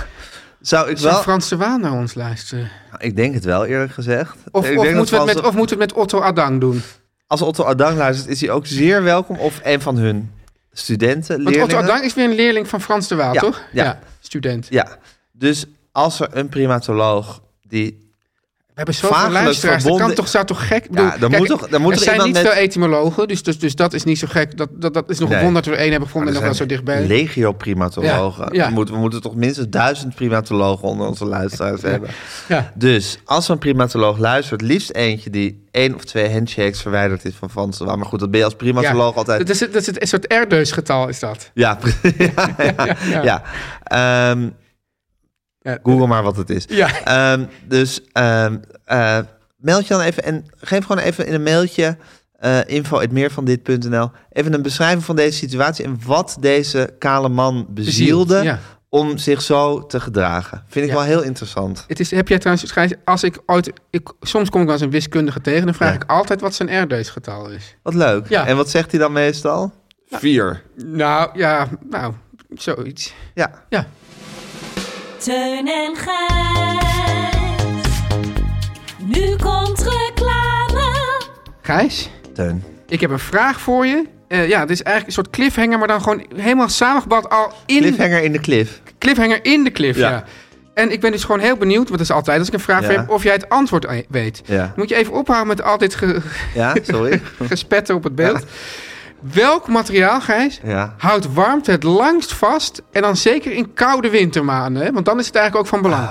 Speaker 1: zou ik
Speaker 2: zou
Speaker 1: wel...
Speaker 2: Frans de Waan naar ons luisteren?
Speaker 1: Nou, Ik denk het wel, eerlijk gezegd.
Speaker 2: Of,
Speaker 1: ik
Speaker 2: of,
Speaker 1: denk dat
Speaker 2: moeten we het met,
Speaker 1: Frans-
Speaker 2: of moeten we het met Otto Adang doen?
Speaker 1: Als Otto Adang luistert, is hij ook zeer welkom. Of een van hun studenten,
Speaker 2: Want
Speaker 1: leerlingen.
Speaker 2: Otto Adang is weer een leerling van Frans de Waan,
Speaker 1: Ja,
Speaker 2: toch?
Speaker 1: ja.
Speaker 2: student.
Speaker 1: Ja, dus als er een primatoloog die...
Speaker 2: We hebben zoveel
Speaker 1: Vagelijk
Speaker 2: luisteraars. Dat
Speaker 1: verbonden-
Speaker 2: kan toch, zou toch gek? Ik bedoel,
Speaker 1: dan moet toch- dan moet
Speaker 2: er
Speaker 1: er
Speaker 2: zijn niet
Speaker 1: iemand
Speaker 2: veel
Speaker 1: met-
Speaker 2: etymologen, dus, dus, dus dat is niet zo gek. Dat, dat, dat is nog een
Speaker 1: Nee.
Speaker 2: wonder dat we er één hebben gevonden en nog
Speaker 1: Nou, er
Speaker 2: wel
Speaker 1: zijn
Speaker 2: zo dichtbij.
Speaker 1: Legio primatologen.
Speaker 2: Ja, ja.
Speaker 1: We, moeten, we moeten toch minstens duizend primatologen onder onze luisteraars hebben.
Speaker 2: Ja.
Speaker 1: Dus als er een primatoloog luistert, liefst eentje die één of twee handshakes verwijderd is van Van Zwa. Maar goed, dat ben je als primatoloog altijd.
Speaker 2: Dat is, het- dat is het, een soort erdeusgetal is dat.
Speaker 1: Ja, pre- ja, ja,
Speaker 2: ja.
Speaker 1: ja. Ehm,
Speaker 2: Ja.
Speaker 1: Google maar wat het is.
Speaker 2: Ja.
Speaker 1: Ehm, dus ehm, eh, meld je dan even en geef gewoon even in een mailtje eh info.meervandit.nl even een beschrijving van deze situatie en wat deze kale man bezielde
Speaker 2: ja.
Speaker 1: om zich zo te gedragen. Vind ik
Speaker 2: Ja.
Speaker 1: wel heel interessant.
Speaker 2: Het is, heb jij trouwens, Gijs, als ik ooit, ik, soms kom ik wel eens een wiskundige tegen, dan vraag
Speaker 1: Ja.
Speaker 2: ik altijd wat zijn erdeusgetal is.
Speaker 1: Wat leuk.
Speaker 2: Ja.
Speaker 1: En wat zegt hij dan meestal? Vier.
Speaker 2: Nou, ja, nou, zoiets.
Speaker 1: Ja.
Speaker 2: Ja,
Speaker 4: Teun en Gijs. Nu komt reclame.
Speaker 2: Gijs,
Speaker 1: Teun.
Speaker 2: ik heb een vraag voor je. Eh, ja, het is eigenlijk een soort cliffhanger, maar dan gewoon helemaal samengevat al in
Speaker 1: Cliffhanger in de cliff.
Speaker 2: Cliffhanger in de cliff, ja.
Speaker 1: Ja.
Speaker 2: En ik ben dus gewoon heel benieuwd, want dat is altijd als ik een vraag
Speaker 1: Ja.
Speaker 2: voor heb, of jij het antwoord e- weet.
Speaker 1: Ja.
Speaker 2: Moet je even ophouden met al dit ge-
Speaker 1: Ja, sorry.
Speaker 2: gespetter op het beeld. Welk materiaal, Gijs,
Speaker 1: ja.
Speaker 2: houdt warmte het
Speaker 1: Ah.
Speaker 2: langst vast en dan zeker in koude wintermaanden? Hè? Want dan is het eigenlijk ook van belang.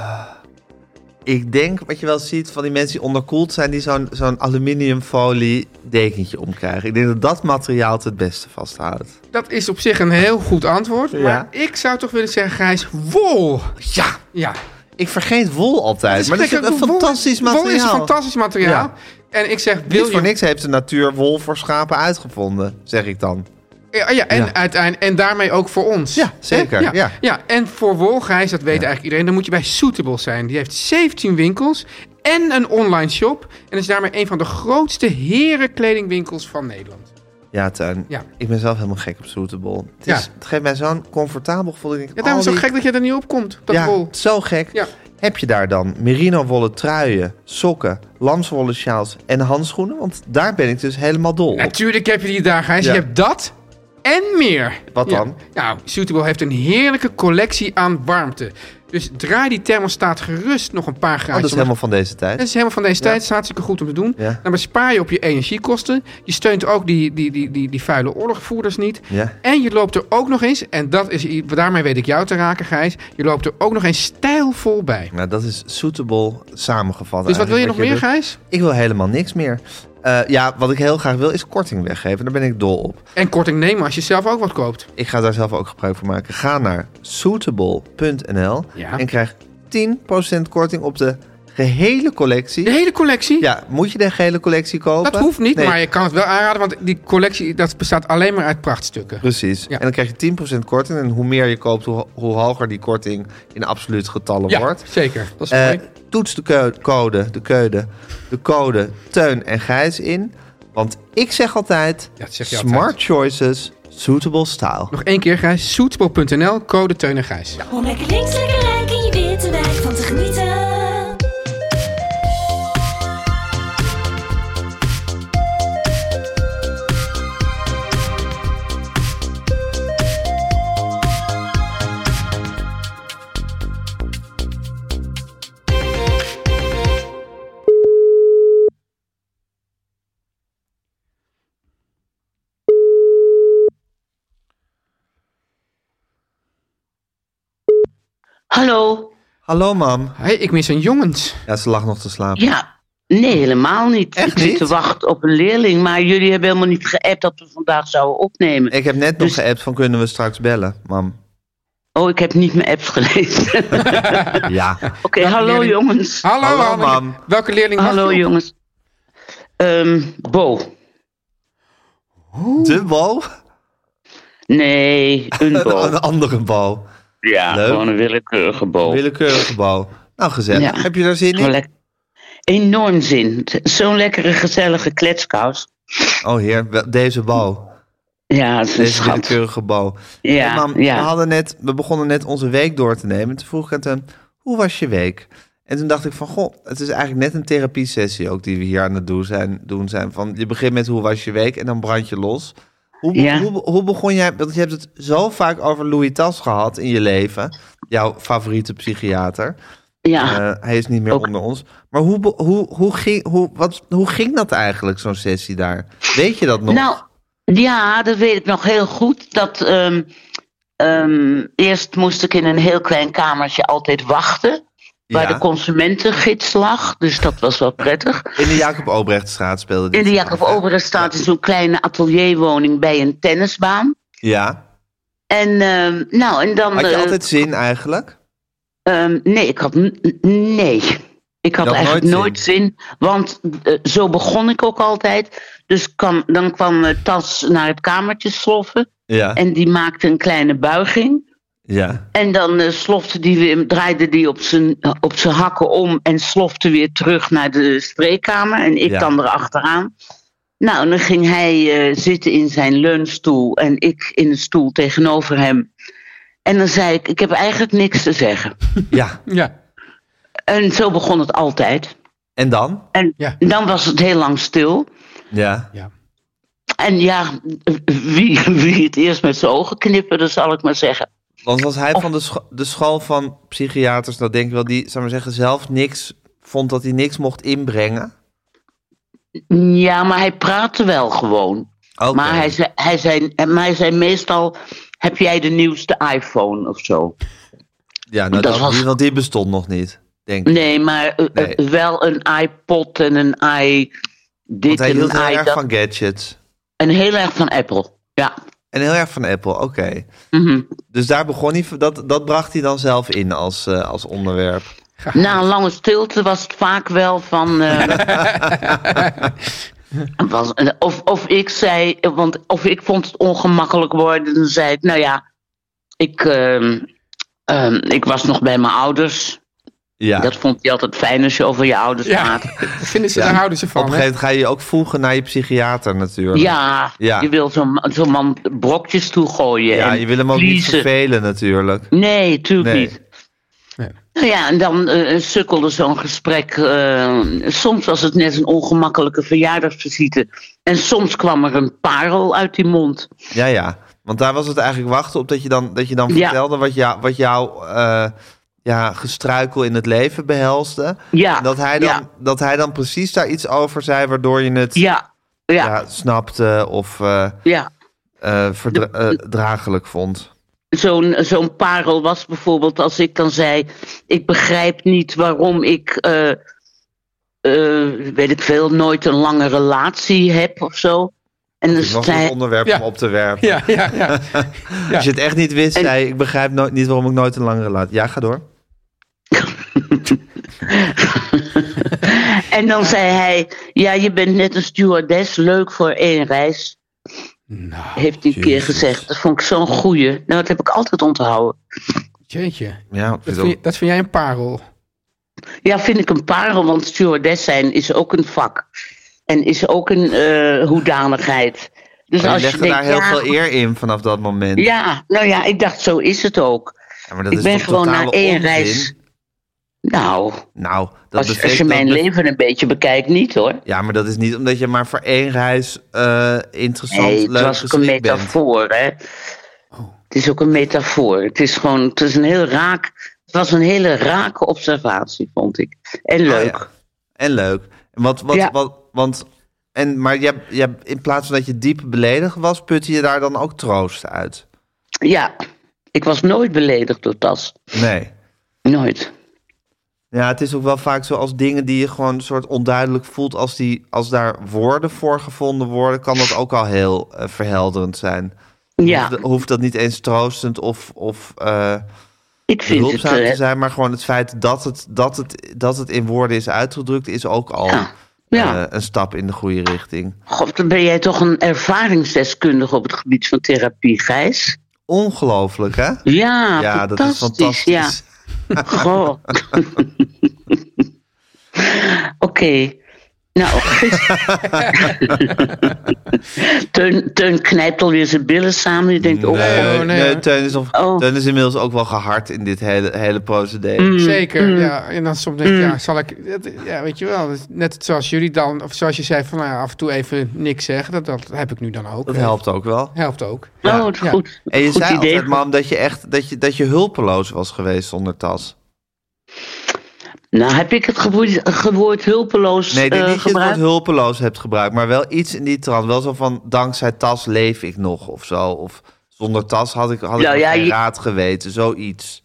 Speaker 1: Ik denk wat je wel ziet van die mensen die onderkoeld zijn, die zo'n zo'n aluminiumfolie dekentje omkrijgen. Ik denk dat dat materiaal het het beste vasthoudt.
Speaker 2: Dat is op zich een heel goed antwoord.
Speaker 1: Ja.
Speaker 2: Maar ik zou toch willen zeggen, Gijs, wol.
Speaker 1: Ja,
Speaker 2: Ja.
Speaker 1: ik vergeet wol altijd. maar dat is
Speaker 2: lekker-
Speaker 1: een
Speaker 2: wol-
Speaker 1: fantastisch
Speaker 2: Wol is een
Speaker 1: materiaal.
Speaker 2: fantastisch materiaal.
Speaker 1: Ja.
Speaker 2: En ik zeg, wil
Speaker 1: Niet
Speaker 2: je...
Speaker 1: voor niks heeft de natuur wol voor schapen uitgevonden, zeg ik dan.
Speaker 2: Ja, ja, en,
Speaker 1: Ja.
Speaker 2: uiteindelijk, en daarmee ook voor ons.
Speaker 1: Ja, zeker,
Speaker 2: Hè? Ja,
Speaker 1: ja.
Speaker 2: ja. en voor Wolgijs, dat weet eigenlijk iedereen, dan moet je bij Suitable zijn. Die heeft 17 winkels en een online shop. En is daarmee een van de grootste herenkledingwinkels van Nederland.
Speaker 1: Ja, Tuin.
Speaker 2: Ja.
Speaker 1: Ik ben zelf helemaal gek op Suitable. Het,
Speaker 2: Ja.
Speaker 1: is, het geeft mij zo'n comfortabel gevoel. Ik denk,
Speaker 2: Ja, daarom is
Speaker 1: al
Speaker 2: het
Speaker 1: die-
Speaker 2: ook gek dat je er niet op komt, dat
Speaker 1: ja,
Speaker 2: wol.
Speaker 1: zo gek.
Speaker 2: Ja.
Speaker 1: Heb je daar dan merino-wollen truien, sokken, lamswollen sjaals en handschoenen? Want daar ben ik dus helemaal dol op.
Speaker 2: Natuurlijk heb je die daar, Gijs.
Speaker 1: Ja.
Speaker 2: Je hebt dat en meer.
Speaker 1: Wat
Speaker 2: Ja.
Speaker 1: dan?
Speaker 2: Nou, Suitable heeft een heerlijke collectie aan warmte. Dus draai die thermostaat gerust nog een paar
Speaker 1: Oh, dat
Speaker 2: graadjes
Speaker 1: is helemaal van deze tijd.
Speaker 2: Dat is helemaal van deze tijd. Dat is hartstikke goed om te doen.
Speaker 1: Ja.
Speaker 2: Dan bespaar je op je energiekosten. Je steunt ook die, die, die, die, die vuile oorlogvoerders niet.
Speaker 1: Ja.
Speaker 2: En je loopt er ook nog eens, en dat is, i- daarmee weet ik jou te raken, Gijs. Je loopt er ook nog eens stijlvol bij.
Speaker 1: Nou, dat is suitable samengevat.
Speaker 2: Dus wat wil je
Speaker 1: eigenlijk,
Speaker 2: nog meer,
Speaker 1: doet.
Speaker 2: Gijs?
Speaker 1: Ik wil helemaal niks meer. Eh, ja, wat ik heel graag wil is korting weggeven. Daar ben ik dol op.
Speaker 2: En korting nemen als je zelf ook wat koopt.
Speaker 1: Ik ga daar zelf ook gebruik van maken. Ga naar suitable.nl
Speaker 2: Ja.
Speaker 1: en krijg 10% korting op de gehele collectie.
Speaker 2: De hele collectie?
Speaker 1: Ja, moet je de gehele collectie kopen?
Speaker 2: Dat hoeft niet,
Speaker 1: Nee,
Speaker 2: maar je kan het wel aanraden, want die collectie dat bestaat alleen maar uit prachtstukken.
Speaker 1: Precies.
Speaker 2: Ja.
Speaker 1: En dan krijg je 10% korting. En hoe meer je koopt, hoe, hoe hoger die korting in absoluut getallen
Speaker 2: Ja,
Speaker 1: wordt.
Speaker 2: zeker. Dat is
Speaker 1: Eh,
Speaker 2: mooi.
Speaker 1: toets de keu- code, de keude, de code Teun en Gijs in. Want ik zeg altijd,
Speaker 2: Ja, dat zeg je
Speaker 1: smart
Speaker 2: altijd.
Speaker 1: choices, suitable style.
Speaker 2: Nog één keer, Gijs. Soetbal.nl, code Teun en Gijs.
Speaker 4: Om lekker links, lekker rijk in je witte wijk van te genieten.
Speaker 5: Hallo?
Speaker 1: Hallo mam.
Speaker 2: Hé, ik mis een jongens.
Speaker 1: Ja, ze lag nog te slapen.
Speaker 5: Ja, nee, helemaal niet.
Speaker 1: Echt
Speaker 5: ik zit
Speaker 1: niet?
Speaker 5: te wachten op een leerling, maar jullie hebben helemaal niet geappt dat we vandaag zouden opnemen.
Speaker 1: Ik heb net nog
Speaker 5: Dus-
Speaker 1: geappt van kunnen we straks bellen, mam.
Speaker 5: Oh, ik heb niet mijn apps gelezen. Oké,
Speaker 1: Ja.
Speaker 5: hallo
Speaker 2: leerling.
Speaker 5: jongens.
Speaker 2: Hallo,
Speaker 1: Hallo,
Speaker 2: Anne.
Speaker 1: mam.
Speaker 2: Welke leerling was
Speaker 5: hallo
Speaker 2: je?
Speaker 5: jongens. Ehm, Bo.
Speaker 1: De bal?
Speaker 5: Nee, een Bo.
Speaker 1: Een andere bal.
Speaker 5: Ja,
Speaker 1: Oh, Leuk.
Speaker 5: gewoon een willekeurige Bo.
Speaker 1: Willekeurige bal. Nou, gezellig.
Speaker 5: Ja.
Speaker 1: Heb je daar zin
Speaker 5: Gewoon
Speaker 1: in?
Speaker 5: lekker. Enorm zin. Het is Zo'n lekkere, gezellige kletskous.
Speaker 1: Oh heer, wel- deze bal.
Speaker 5: Ja, het is een
Speaker 1: Deze
Speaker 5: schat.
Speaker 1: willekeurige bal.
Speaker 5: Ja,
Speaker 1: Hey, mam,
Speaker 5: ja.
Speaker 1: We, hadden net, we begonnen net onze week door te nemen. Toen vroeg ik aan Teun, hoe was je week? En toen dacht ik van, goh, het is eigenlijk net een therapiesessie ook die we hier aan het doen zijn. Doen zijn. Van, je begint met hoe was je week en dan brand je los. Hoe, be-
Speaker 5: Ja.
Speaker 1: hoe, be- hoe begon jij, want je hebt het zo vaak over Louis Tas gehad in je leven. Jouw favoriete psychiater.
Speaker 5: ja.
Speaker 1: Eh, hij is niet meer
Speaker 5: Ook.
Speaker 1: onder ons. Maar hoe, be- hoe, hoe, ging, hoe, wat, hoe ging dat eigenlijk, zo'n sessie daar? Weet je dat nog?
Speaker 5: Nou, ja, dat weet ik nog heel goed. Dat, ehm, ehm, eerst moest ik in een heel klein kamertje altijd wachten. Waar
Speaker 1: Ja.
Speaker 5: de consumentengids lag. Dus dat was wel prettig.
Speaker 1: In de Jacob Obrechtstraat speelde dit
Speaker 5: In de
Speaker 1: zich
Speaker 5: Jacob
Speaker 1: af, hè?
Speaker 5: Overenstraat is zo'n kleine atelierwoning bij een tennisbaan.
Speaker 1: Ja.
Speaker 5: En, ehm, nou, en dan.
Speaker 1: Had je
Speaker 5: eh,
Speaker 1: altijd zin eigenlijk?
Speaker 5: ehm, nee, ik had. n- n- Nee. Ik had
Speaker 1: Je had
Speaker 5: eigenlijk
Speaker 1: nooit
Speaker 5: nooit zin. want eh, zo begon ik ook altijd. Dus kwam, dan kwam eh, Tas naar het kamertje sloffen.
Speaker 1: Ja.
Speaker 5: En die maakte een kleine buiging.
Speaker 1: Ja.
Speaker 5: En dan eh, slofte die weer, draaide die op zijn, op zijn hakken om en slofte weer terug naar de spreekkamer. En ik
Speaker 1: Ja.
Speaker 5: dan erachteraan. Nou, en dan ging hij eh, zitten in zijn leunstoel en ik in een stoel tegenover hem. En dan zei ik, ik heb eigenlijk niks te zeggen.
Speaker 1: Ja.
Speaker 2: Ja.
Speaker 5: En zo begon het altijd.
Speaker 1: En dan?
Speaker 5: En
Speaker 2: Ja.
Speaker 5: dan was het heel lang stil.
Speaker 1: Ja.
Speaker 2: ja.
Speaker 5: En ja, wie, wie het eerst met zijn ogen knipperde, zal ik maar zeggen.
Speaker 1: Want was hij van de, scho- de school van psychiaters, dat denk ik wel, die, zou maar zeggen, zelf niks vond dat hij niks mocht inbrengen?
Speaker 5: Ja, maar hij praatte wel gewoon.
Speaker 1: Oké.
Speaker 5: Maar, hij zei, hij zei, maar hij zei meestal, heb jij de nieuwste iPhone of zo?
Speaker 1: ja, nou,
Speaker 5: dat
Speaker 1: dat
Speaker 5: was-
Speaker 1: die- want die bestond nog niet. Denk ik.
Speaker 5: Nee, maar eh,
Speaker 1: Nee.
Speaker 5: eh, wel een iPod en een i...
Speaker 1: Want
Speaker 5: Dit
Speaker 1: hij
Speaker 5: en
Speaker 1: hield heel
Speaker 5: een i
Speaker 1: erg
Speaker 5: dat.
Speaker 1: van gadgets.
Speaker 5: En heel erg van Apple. Ja.
Speaker 1: En heel erg van Apple, oké.
Speaker 5: Mhm.
Speaker 1: Dus daar begon hij, dat, dat bracht hij dan zelf in als, eh, als onderwerp.
Speaker 5: Na een lange stilte was het vaak wel van. eh, was, eh, of, of ik zei, want of ik vond het ongemakkelijk worden, dan zei ik, nou ja, ik, ehm, ehm, ik was nog bij mijn ouders.
Speaker 1: Ja.
Speaker 5: Dat vond hij altijd fijn als je over je ouders
Speaker 2: Ja,
Speaker 5: praat.
Speaker 2: dat vinden ze, daar houden ze
Speaker 1: Ah. Op een
Speaker 2: van.
Speaker 1: gegeven
Speaker 2: Hè?
Speaker 1: moment ga je je ook voegen naar je psychiater natuurlijk.
Speaker 5: Ja,
Speaker 1: Ja.
Speaker 5: je wil zo'n zo'n man brokjes toegooien.
Speaker 1: Ja,
Speaker 5: en
Speaker 1: je wil hem ook niet
Speaker 5: vliezen.
Speaker 1: vervelen natuurlijk.
Speaker 5: Nee, tuurlijk
Speaker 1: Nee.
Speaker 5: niet.
Speaker 2: Nee.
Speaker 5: Nou ja, en dan eh, sukkelde zo'n gesprek. eh, soms was het net een ongemakkelijke verjaardagsvisite. En soms kwam er een parel uit die mond.
Speaker 1: Ja, ja. Want daar was het eigenlijk wachten op dat je dan, dat je dan
Speaker 5: Ja.
Speaker 1: vertelde wat, jou, wat jouw eh, ja, gestruikel in het leven behelste.
Speaker 5: Ja.
Speaker 1: En dat, hij dan,
Speaker 5: Ja.
Speaker 1: dat hij dan precies daar iets over zei waardoor je het
Speaker 5: Ja, ja, ja.
Speaker 1: ja, snapte of eh, eh, verdra- eh, draaglijk vond.
Speaker 5: Zo'n zo'n parel was bijvoorbeeld als ik dan zei: Ik begrijp niet waarom ik. eh, eh, weet ik veel, nooit een lange relatie heb of zo. En dan
Speaker 1: Het was een
Speaker 5: zei,
Speaker 1: goed onderwerp
Speaker 2: Ja.
Speaker 1: om op te werpen.
Speaker 2: Ja, ja, ja. Ja.
Speaker 1: Als je het echt niet wist,
Speaker 5: En-
Speaker 1: zei je, ik begrijp nooit, niet waarom ik nooit een lange relatie... Ja, ga door.
Speaker 5: En dan zei hij: Ja, je bent net een stewardess, leuk voor één reis.
Speaker 2: Nou,
Speaker 5: Heeft hij een keer gezegd. Dat vond ik zo'n goeie. Nou, dat heb ik altijd onthouden.
Speaker 2: Jeetje,
Speaker 1: Ja, ik
Speaker 2: dat
Speaker 1: vind het
Speaker 2: vind, je-
Speaker 1: ook-
Speaker 2: dat vind jij een parel.
Speaker 5: Ja, vind ik een parel, want stewardess zijn is ook een vak. En is ook een eh, hoedanigheid. Dus
Speaker 1: je
Speaker 5: als je
Speaker 1: legde
Speaker 5: denkt,
Speaker 1: daar heel
Speaker 5: ja,
Speaker 1: veel eer in vanaf dat moment.
Speaker 5: Ja, nou ja, ik dacht, zo is het ook.
Speaker 1: Ja, maar dat
Speaker 5: ik
Speaker 1: is
Speaker 5: ben
Speaker 1: toch
Speaker 5: gewoon
Speaker 1: totale
Speaker 5: naar één
Speaker 1: onzin?
Speaker 5: reis. Nou,
Speaker 1: Nou, dat
Speaker 5: als, als
Speaker 1: betekent-
Speaker 5: je mijn
Speaker 1: dat be-
Speaker 5: leven een beetje bekijkt, niet hoor.
Speaker 1: Ja, maar dat is niet omdat je maar voor één reis eh, interessant,
Speaker 5: Nee, het
Speaker 1: leuk
Speaker 5: was ook een
Speaker 1: geschikt bent. Oh.
Speaker 5: metafoor, hè. Het is ook een metafoor. Het is gewoon, het is een heel raak, het was een hele rake observatie, vond ik. En leuk.
Speaker 1: Ah, ja. En leuk. En Wat, wat,
Speaker 5: Ja.
Speaker 1: wat, want, en, maar je, hebt- je, hebt- in plaats van dat je diep beledigd was, putte je daar dan ook troost uit?
Speaker 5: ja. ik was nooit beledigd door Tas.
Speaker 1: Nee.
Speaker 5: Nooit.
Speaker 1: Ja, het is ook wel vaak zo als dingen die je gewoon een soort onduidelijk voelt, als, die, als daar woorden voor gevonden worden, kan dat ook al heel eh, verhelderend zijn.
Speaker 5: Ja,
Speaker 1: Hoeft, hoeft dat niet eens troostend of, of eh,
Speaker 5: ik vind het...
Speaker 1: behulpzaam
Speaker 5: eh,
Speaker 1: te zijn, maar gewoon het feit dat het, dat het, dat het in woorden is uitgedrukt, is ook al
Speaker 5: Ja. Ja.
Speaker 1: eh, een stap in de goede richting.
Speaker 5: God, dan ben jij toch een ervaringsdeskundige op het gebied van therapie, Gijs?
Speaker 1: Ongelooflijk, hè?
Speaker 5: Ja,
Speaker 1: ja, dat is
Speaker 5: fantastisch.
Speaker 1: fantastisch.
Speaker 5: Ja. Goh. Oké. Nou, gisteren- Teun, Teun knijpt alweer zijn billen samen. Die denkt, oh,
Speaker 1: Nee,
Speaker 2: oh, nee,
Speaker 1: nee,
Speaker 2: hoor.
Speaker 1: Teun, is of,
Speaker 5: Oh. Mm.
Speaker 1: Teun is inmiddels ook wel gehard in dit hele, hele procedé.
Speaker 2: Mm. Zeker, ja. En dan soms denk ik, ja, zal ik... dat- Ja, weet je wel, dat is net zoals jullie dan... Of zoals je zei, van nou, ja, af en toe even niks zeggen. Dat, dat heb ik nu dan ook.
Speaker 1: Dat helpt ook wel.
Speaker 2: Helpt ook.
Speaker 5: oh, het is
Speaker 2: ja.
Speaker 5: goed.
Speaker 1: En je
Speaker 5: goed
Speaker 1: zei
Speaker 5: idee.
Speaker 1: altijd, mam, dat je echt dat je, dat je hulpeloos was geweest zonder tas.
Speaker 5: Nou, heb ik het gewoord, gewoord hulpeloos
Speaker 1: Nee, ik denk
Speaker 5: eh,
Speaker 1: niet dat je het woord
Speaker 5: gebruikt?
Speaker 1: hulpeloos hebt gebruikt, maar wel iets in die trant. Wel zo van, dankzij tas leef ik nog of zo. Of zonder tas had ik, had ik
Speaker 5: Nou
Speaker 1: nog
Speaker 5: ja,
Speaker 1: geen
Speaker 5: je-
Speaker 1: raad geweten, zoiets.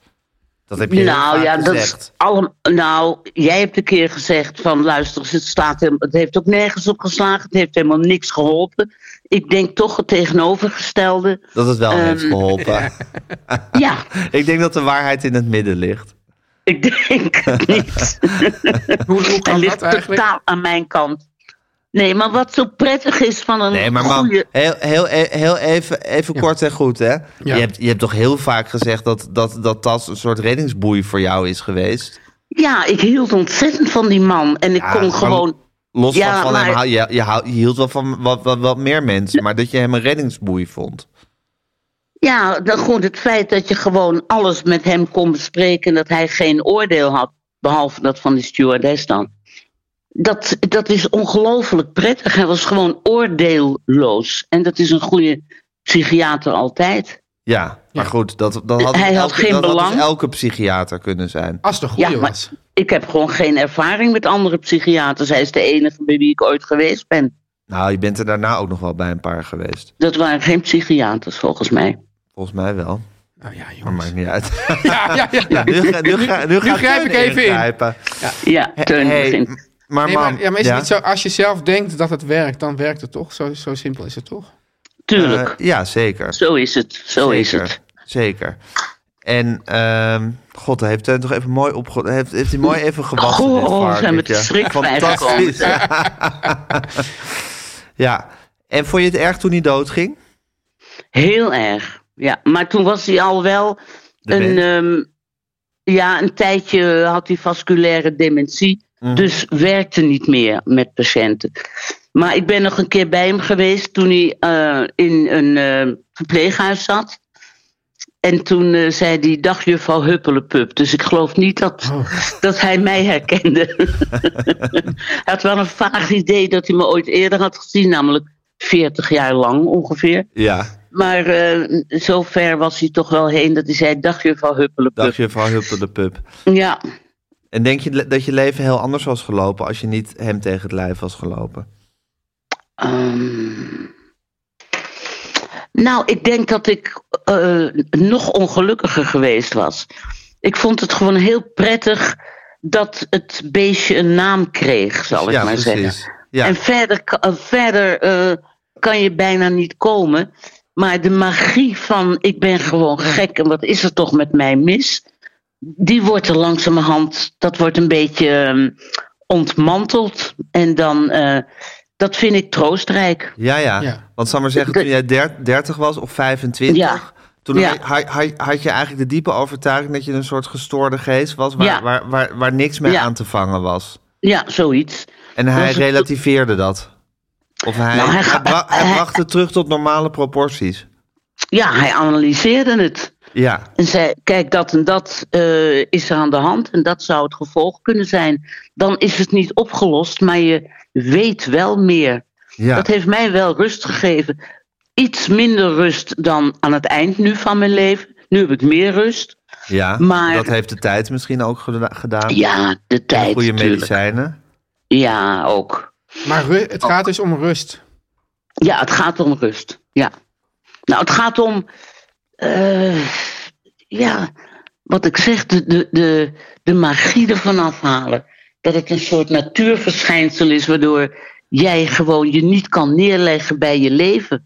Speaker 1: Dat heb je heel
Speaker 5: nou
Speaker 1: vaak
Speaker 5: ja, dat
Speaker 1: gezegd.
Speaker 5: is allemaal. Nou, jij hebt een keer gezegd: van luister, het, staat, hem- het heeft ook nergens op geslagen. Het heeft helemaal niks geholpen. Ik denk toch het tegenovergestelde.
Speaker 1: Dat het wel heeft
Speaker 5: Ehm,
Speaker 1: geholpen.
Speaker 5: Ja,
Speaker 1: Ik denk dat de waarheid in het midden ligt.
Speaker 5: ik denk het niet.
Speaker 2: Hoe, hoe
Speaker 5: Hij
Speaker 2: kan
Speaker 5: ligt
Speaker 2: dat eigenlijk?
Speaker 5: totaal aan mijn kant. Nee, maar wat zo prettig is van een
Speaker 1: Nee, maar man,
Speaker 5: goede...
Speaker 1: heel, heel, heel even, even kort en goed, hè? Je, hebt, je hebt toch heel vaak gezegd dat, dat, dat tas een soort reddingsboei voor jou is geweest?
Speaker 5: Ja, ik hield ontzettend van die man. En ik
Speaker 1: Ja,
Speaker 5: kon
Speaker 1: maar-
Speaker 5: gewoon...
Speaker 1: Los
Speaker 5: Ja,
Speaker 1: van, van
Speaker 5: maar-
Speaker 1: hem, hou- je, je, hou- je hield wel van wat, wat, wat meer mensen, maar dat je hem een reddingsboei vond.
Speaker 5: Ja, dan gewoon het feit dat je gewoon alles met hem kon bespreken... en dat hij geen oordeel had, behalve dat van die stewardess dan. Dat, dat is ongelooflijk prettig. Hij was gewoon oordeelloos. En dat is een goede psychiater altijd.
Speaker 1: Ja, maar goed, dat, dat had,
Speaker 5: Hij had geen
Speaker 1: dat dus
Speaker 5: belang.
Speaker 1: elke psychiater kunnen zijn.
Speaker 2: Als het een goede
Speaker 5: Ja, maar-
Speaker 2: was.
Speaker 5: Ik heb gewoon geen ervaring met andere psychiaters. Hij is de enige bij wie ik ooit geweest ben.
Speaker 1: Nou, je bent er daarna ook nog wel bij een paar geweest.
Speaker 5: Dat waren geen psychiaters volgens mij.
Speaker 1: Volgens mij wel.
Speaker 2: Nou ja,
Speaker 1: Maar
Speaker 2: jongens.
Speaker 1: maakt niet uit.
Speaker 2: Ja, ja, ja. ja.
Speaker 1: nu, ga- nu, ga- nu gaat
Speaker 2: grijp
Speaker 1: Teun
Speaker 2: ik even in.
Speaker 1: ingrijpen.
Speaker 5: Ja, Teun
Speaker 1: Hey,
Speaker 5: begint.
Speaker 1: Maar,
Speaker 2: Nee,
Speaker 1: mam,
Speaker 2: maar, ja, maar is het niet zo, als je zelf denkt dat het werkt, dan werkt het toch? Zo, zo simpel is het toch?
Speaker 5: Tuurlijk.
Speaker 1: eh, ja, zeker.
Speaker 5: zo is het. Zo is
Speaker 1: Zeker,
Speaker 5: het.
Speaker 1: Zeker. En, ehm god, daar heeft Teun toch even mooi op heeft, heeft hij mooi even gewassen.
Speaker 5: Goh,
Speaker 1: dit
Speaker 5: oh,
Speaker 1: varkentje.
Speaker 5: zijn we te schrik bij
Speaker 1: Fantastisch. ja. En vond je het erg toen hij doodging?
Speaker 5: Heel erg. Ja, maar toen was hij al wel
Speaker 1: De
Speaker 5: een,
Speaker 1: mens.
Speaker 5: ehm, ja, een tijdje had hij vasculaire dementie. Dus werkte niet meer met patiënten. Maar ik ben nog een keer bij hem geweest toen hij eh, in een eh, verpleeghuis zat. En toen eh, zei hij, dag juffrouw Huppelepup. Dus ik geloof niet dat, dat hij mij herkende. hij had wel een vaag idee dat hij me ooit eerder had gezien. Namelijk 40 jaar lang ongeveer.
Speaker 1: Ja,
Speaker 5: Maar eh, zo ver was hij toch wel heen dat hij zei: Dag juffrouw Huppelepup.
Speaker 1: dacht je van Huppel de Pup.
Speaker 5: Ja,
Speaker 1: En denk je le- dat je leven heel anders was gelopen als je niet hem tegen het lijf was gelopen?
Speaker 5: ehm. nou, ik denk dat ik eh, nog ongelukkiger geweest was. Ik vond het gewoon heel prettig dat het beestje een naam kreeg, zal ik
Speaker 1: ja,
Speaker 5: maar zeggen.
Speaker 1: precies. Ja,
Speaker 5: En verder, ka- eh, verder eh, kan je bijna niet komen. Maar de magie van ik ben gewoon gek en wat is er toch met mij mis? Die wordt er langzamerhand, dat wordt een beetje ehm, ontmanteld. En dan, eh, dat vind ik troostrijk.
Speaker 1: ja, ja.
Speaker 2: Ja.
Speaker 1: Want zal maar zeggen, toen jij der- 30 was of 25,
Speaker 5: Ja.
Speaker 1: toen
Speaker 5: Ja.
Speaker 1: Had, had, had je eigenlijk de diepe overtuiging dat je een soort gestoorde geest was waar,
Speaker 5: Ja.
Speaker 1: waar, waar, waar niks mee
Speaker 5: Ja.
Speaker 1: aan te vangen was.
Speaker 5: Ja, zoiets.
Speaker 1: En hij
Speaker 5: het-
Speaker 1: relativeerde dat. Of hij,
Speaker 5: Nou,
Speaker 1: hij,
Speaker 5: hij ga-
Speaker 1: bra- hij
Speaker 5: hij-
Speaker 1: bracht het terug tot normale proporties.
Speaker 5: Ja, hij analyseerde het.
Speaker 1: Ja,
Speaker 5: En zei, kijk, dat en dat eh, is er aan de hand en dat zou het gevolg kunnen zijn. Dan is het niet opgelost, maar je weet wel meer.
Speaker 1: ja.
Speaker 5: Dat heeft mij wel rust gegeven. Iets minder rust dan aan het eind nu van mijn leven. Nu heb ik meer rust.
Speaker 1: ja.
Speaker 5: maar-
Speaker 1: dat heeft de tijd misschien ook geda- gedaan.
Speaker 5: Ja, de
Speaker 1: En de
Speaker 5: tijd.
Speaker 1: Goede
Speaker 5: tuurlijk.
Speaker 1: medicijnen.
Speaker 5: Ja, ook.
Speaker 2: Maar ru-
Speaker 1: Oh.
Speaker 2: het gaat dus om rust.
Speaker 5: Ja, het gaat om rust. Ja. Nou, het gaat om. eh, ja, wat ik zeg, de, de, de, de magie ervan afhalen. Dat het een soort natuurverschijnsel is, waardoor jij gewoon je niet kan neerleggen bij je leven.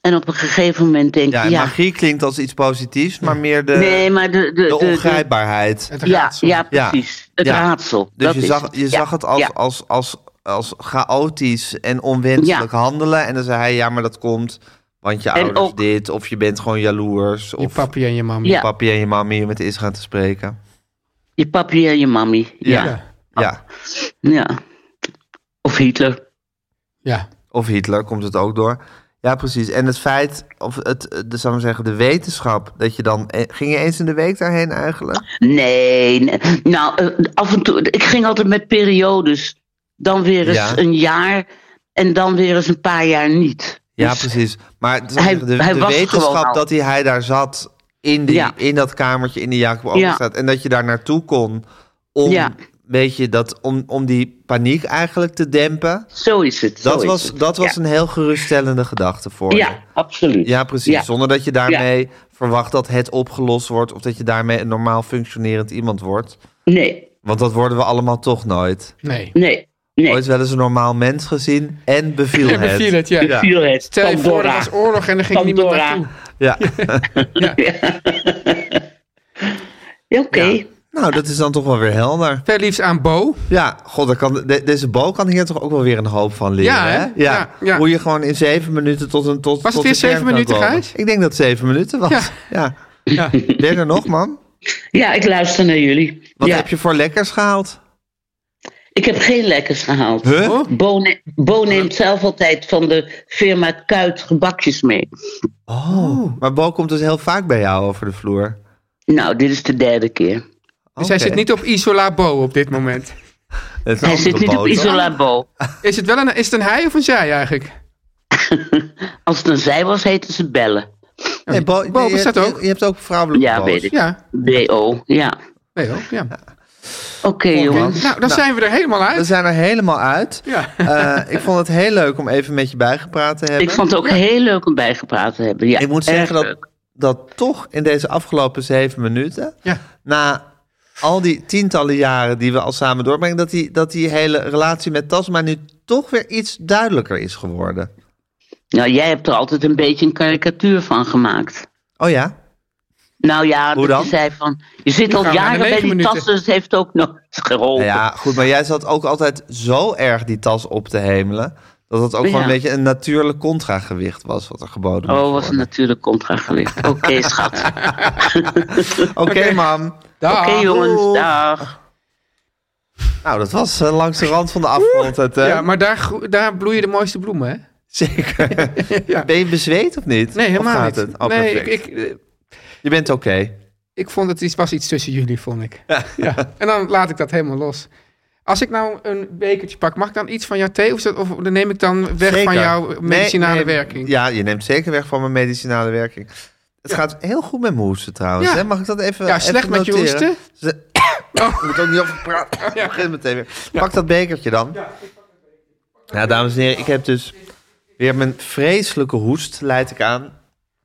Speaker 5: En op een gegeven moment denk je,
Speaker 1: Ja,
Speaker 5: ja.
Speaker 1: en magie klinkt als iets positiefs, maar meer de,
Speaker 5: nee, maar de, de, de,
Speaker 1: eh, de
Speaker 5: de-
Speaker 1: ongrijpbaarheid.
Speaker 2: Het
Speaker 5: ja,
Speaker 2: raadsel.
Speaker 5: ja,
Speaker 1: Ja.
Speaker 5: precies. Het
Speaker 1: Ja.
Speaker 5: raadsel.
Speaker 1: Dus
Speaker 5: dat
Speaker 1: je
Speaker 5: is
Speaker 1: zag,
Speaker 5: het.
Speaker 1: je
Speaker 5: Ja,
Speaker 1: zag het als,
Speaker 5: ja.
Speaker 1: als, als, als chaotisch en onwenselijk
Speaker 5: Ja.
Speaker 1: handelen. En dan zei hij, ja, maar dat komt, want je
Speaker 5: En
Speaker 1: ouders
Speaker 5: ook-
Speaker 1: dit. Of je bent gewoon jaloers.
Speaker 2: Je
Speaker 1: Of
Speaker 2: papi en je mami.
Speaker 5: Ja.
Speaker 1: papi en je mami om met is gaan te spreken.
Speaker 5: Je papi en je mami. Ja. ja.
Speaker 2: Ja.
Speaker 1: Ja,
Speaker 5: Of Hitler.
Speaker 2: Ja.
Speaker 1: of Hitler komt het ook door. Ja, precies. En het feit, of het, eh, de, zou ik maar zeggen, de wetenschap, dat je dan... eh, Ging je eens in de week daarheen eigenlijk?
Speaker 5: Nee, nee. Nou, eh, af en toe. Ik ging altijd met periodes. Dan weer eens
Speaker 1: Ja.
Speaker 5: een jaar. En dan weer eens een paar jaar niet.
Speaker 1: Ja,
Speaker 5: Dus
Speaker 1: precies. Maar het-
Speaker 5: Hij-
Speaker 1: de, de
Speaker 5: hij was gewoon
Speaker 1: wetenschap
Speaker 5: al.
Speaker 1: dat hij, hij daar zat, in, die,
Speaker 5: Ja.
Speaker 1: in dat kamertje, in de Jacob
Speaker 5: Ja.
Speaker 1: Overstraat, en dat je daar naartoe kon om,
Speaker 5: Ja.
Speaker 1: weet je, dat, om, om die paniek eigenlijk te dempen.
Speaker 5: Zo is het.
Speaker 1: Dat
Speaker 5: zo
Speaker 1: was,
Speaker 5: is het.
Speaker 1: dat was een heel geruststellende gedachte voor
Speaker 5: ja.
Speaker 1: je.
Speaker 5: ja, absoluut.
Speaker 1: Ja, precies.
Speaker 5: Ja.
Speaker 1: Zonder dat je daarmee verwacht dat het opgelost wordt of dat je daarmee een normaal functionerend iemand wordt.
Speaker 5: Nee,
Speaker 1: Want dat worden we allemaal toch nooit.
Speaker 2: Nee.
Speaker 5: nee, nee.
Speaker 1: Ooit wel eens een norbeeld mens gezien en beviel
Speaker 2: En
Speaker 1: het.
Speaker 2: beviel het, ja.
Speaker 1: Ja.
Speaker 5: Viel het.
Speaker 2: Stel je voor, er
Speaker 5: Pandora.
Speaker 2: was oorlog en er ging niemand
Speaker 5: Pandora.
Speaker 2: naartoe.
Speaker 1: Ja.
Speaker 5: Ja, Oké.
Speaker 1: Nou, dat is dan toch wel weer helder.
Speaker 2: Veel liefst aan Bo.
Speaker 1: Ja, god, daar kan, de- deze bal kan hier toch ook wel weer een hoop van leren.
Speaker 2: Ja, hè?
Speaker 1: hè?
Speaker 2: Ja, ja.
Speaker 1: Hoe je gewoon in zeven minuten tot een tot.
Speaker 2: Was het
Speaker 1: tot
Speaker 2: weer
Speaker 1: de kern
Speaker 2: zeven
Speaker 1: kan
Speaker 2: minuten,
Speaker 1: komen.
Speaker 2: Gijs?
Speaker 1: Ik denk dat het zeven minuten was. Ja.
Speaker 2: Ja. Ja.
Speaker 1: Ben je er nog, man?
Speaker 5: Ja, ik luister naar jullie.
Speaker 1: Wat
Speaker 5: ja.
Speaker 1: heb je voor lekkers gehaald?
Speaker 5: Ik heb geen lekkers gehaald.
Speaker 1: Huh?
Speaker 2: Oh.
Speaker 5: Bo, ne- Bo neemt zelf altijd van de firma Kuit gebakjes mee.
Speaker 1: Oh. Maar Bo komt dus heel vaak bij jou over de vloer.
Speaker 5: Nou, dit is de derde keer.
Speaker 2: Dus hij zit niet op Isola Bo op dit moment.
Speaker 5: Hij zit niet op Isola Bo.
Speaker 2: Is het, wel een, is het een hij of een zij eigenlijk?
Speaker 5: Als het een zij was, heette ze Bellen.
Speaker 1: Nee, Bo,
Speaker 2: Bo
Speaker 1: nee, je,
Speaker 2: bestaat
Speaker 1: je-
Speaker 2: ook.
Speaker 1: Je, hebt ook vrouwelijke
Speaker 5: Ja,
Speaker 1: Bo's.
Speaker 5: weet ik.
Speaker 2: Ja.
Speaker 5: B.O. Ja.
Speaker 2: Nee hoor. Ja.
Speaker 5: Oké, jongens.
Speaker 2: Nou, dan zijn we er helemaal
Speaker 1: We
Speaker 2: uit.
Speaker 1: zijn er helemaal uit.
Speaker 2: Ja.
Speaker 1: Eh, ik vond het heel leuk om even met je bijgepraat te hebben.
Speaker 5: Ik vond het ook heel leuk om bijgepraat te hebben. Ja,
Speaker 1: Ik moet
Speaker 5: erg
Speaker 1: zeggen dat,
Speaker 5: leuk.
Speaker 1: dat toch in deze afgelopen zeven minuten,
Speaker 2: Ja.
Speaker 1: na al die tientallen jaren die we al samen doorbrengen, dat die, dat die hele relatie met Tasma nu toch weer iets duidelijker is geworden.
Speaker 5: Nou, jij hebt er altijd een beetje een karikatuur van gemaakt.
Speaker 1: Oh ja?
Speaker 5: Nou ja,
Speaker 1: Hoe
Speaker 5: dat
Speaker 1: dan?
Speaker 5: je zei van, je zit al
Speaker 2: gaan we naar de
Speaker 5: jaren bij
Speaker 2: negen
Speaker 5: die
Speaker 2: minuten.
Speaker 5: tassen, dus het heeft ook nooit geholpen.
Speaker 1: Nou ja, goed, maar jij zat ook altijd zo erg die tas op te hemelen, dat het ook gewoon
Speaker 5: Ja.
Speaker 1: een beetje een natuurlijk contragewicht was wat er geboden
Speaker 5: Oh,
Speaker 1: moest
Speaker 5: was het
Speaker 1: worden.
Speaker 5: natuurlijk contragewicht. Oké, schat. Oké,
Speaker 1: Oké, mam.
Speaker 2: Daar.
Speaker 5: jongens,
Speaker 1: doeg.
Speaker 5: dag.
Speaker 1: Nou, dat was eh, langs de rand van de afgrond. Het, eh,
Speaker 2: Ja, maar daar, groe- daar bloeien de mooiste bloemen, hè?
Speaker 1: Zeker.
Speaker 2: Ja.
Speaker 1: Ben je bezweet of niet?
Speaker 2: Nee, helemaal
Speaker 1: Of gaat
Speaker 2: niet.
Speaker 1: het? Oh,
Speaker 2: nee, ik,
Speaker 1: perfect.
Speaker 2: ik, eh,
Speaker 1: Je bent oké.
Speaker 2: ik vond het iets, was iets tussen jullie, vond ik. Ja. En dan laat ik dat helemaal los. Als ik nou een bekertje pak, mag ik dan iets van jouw thee? Of, is dat- of dan neem ik dan weg
Speaker 1: Zeker.
Speaker 2: van jouw
Speaker 1: Nee,
Speaker 2: medicinale
Speaker 1: nee,
Speaker 2: werking?
Speaker 1: Ja, je neemt zeker weg van mijn medicinale werking. Het gaat heel goed met mijn hoesten trouwens.
Speaker 2: Ja.
Speaker 1: Hè? Mag ik dat even
Speaker 2: Ja,
Speaker 1: even
Speaker 2: slecht met je
Speaker 1: noteren?
Speaker 2: hoesten?
Speaker 1: Ze- Ik moet ook niet over praten. Ik begin meteen weer. Pak dat bekertje dan. Nou, dames en heren, ik heb dus weer mijn vreselijke hoest, leid ik aan.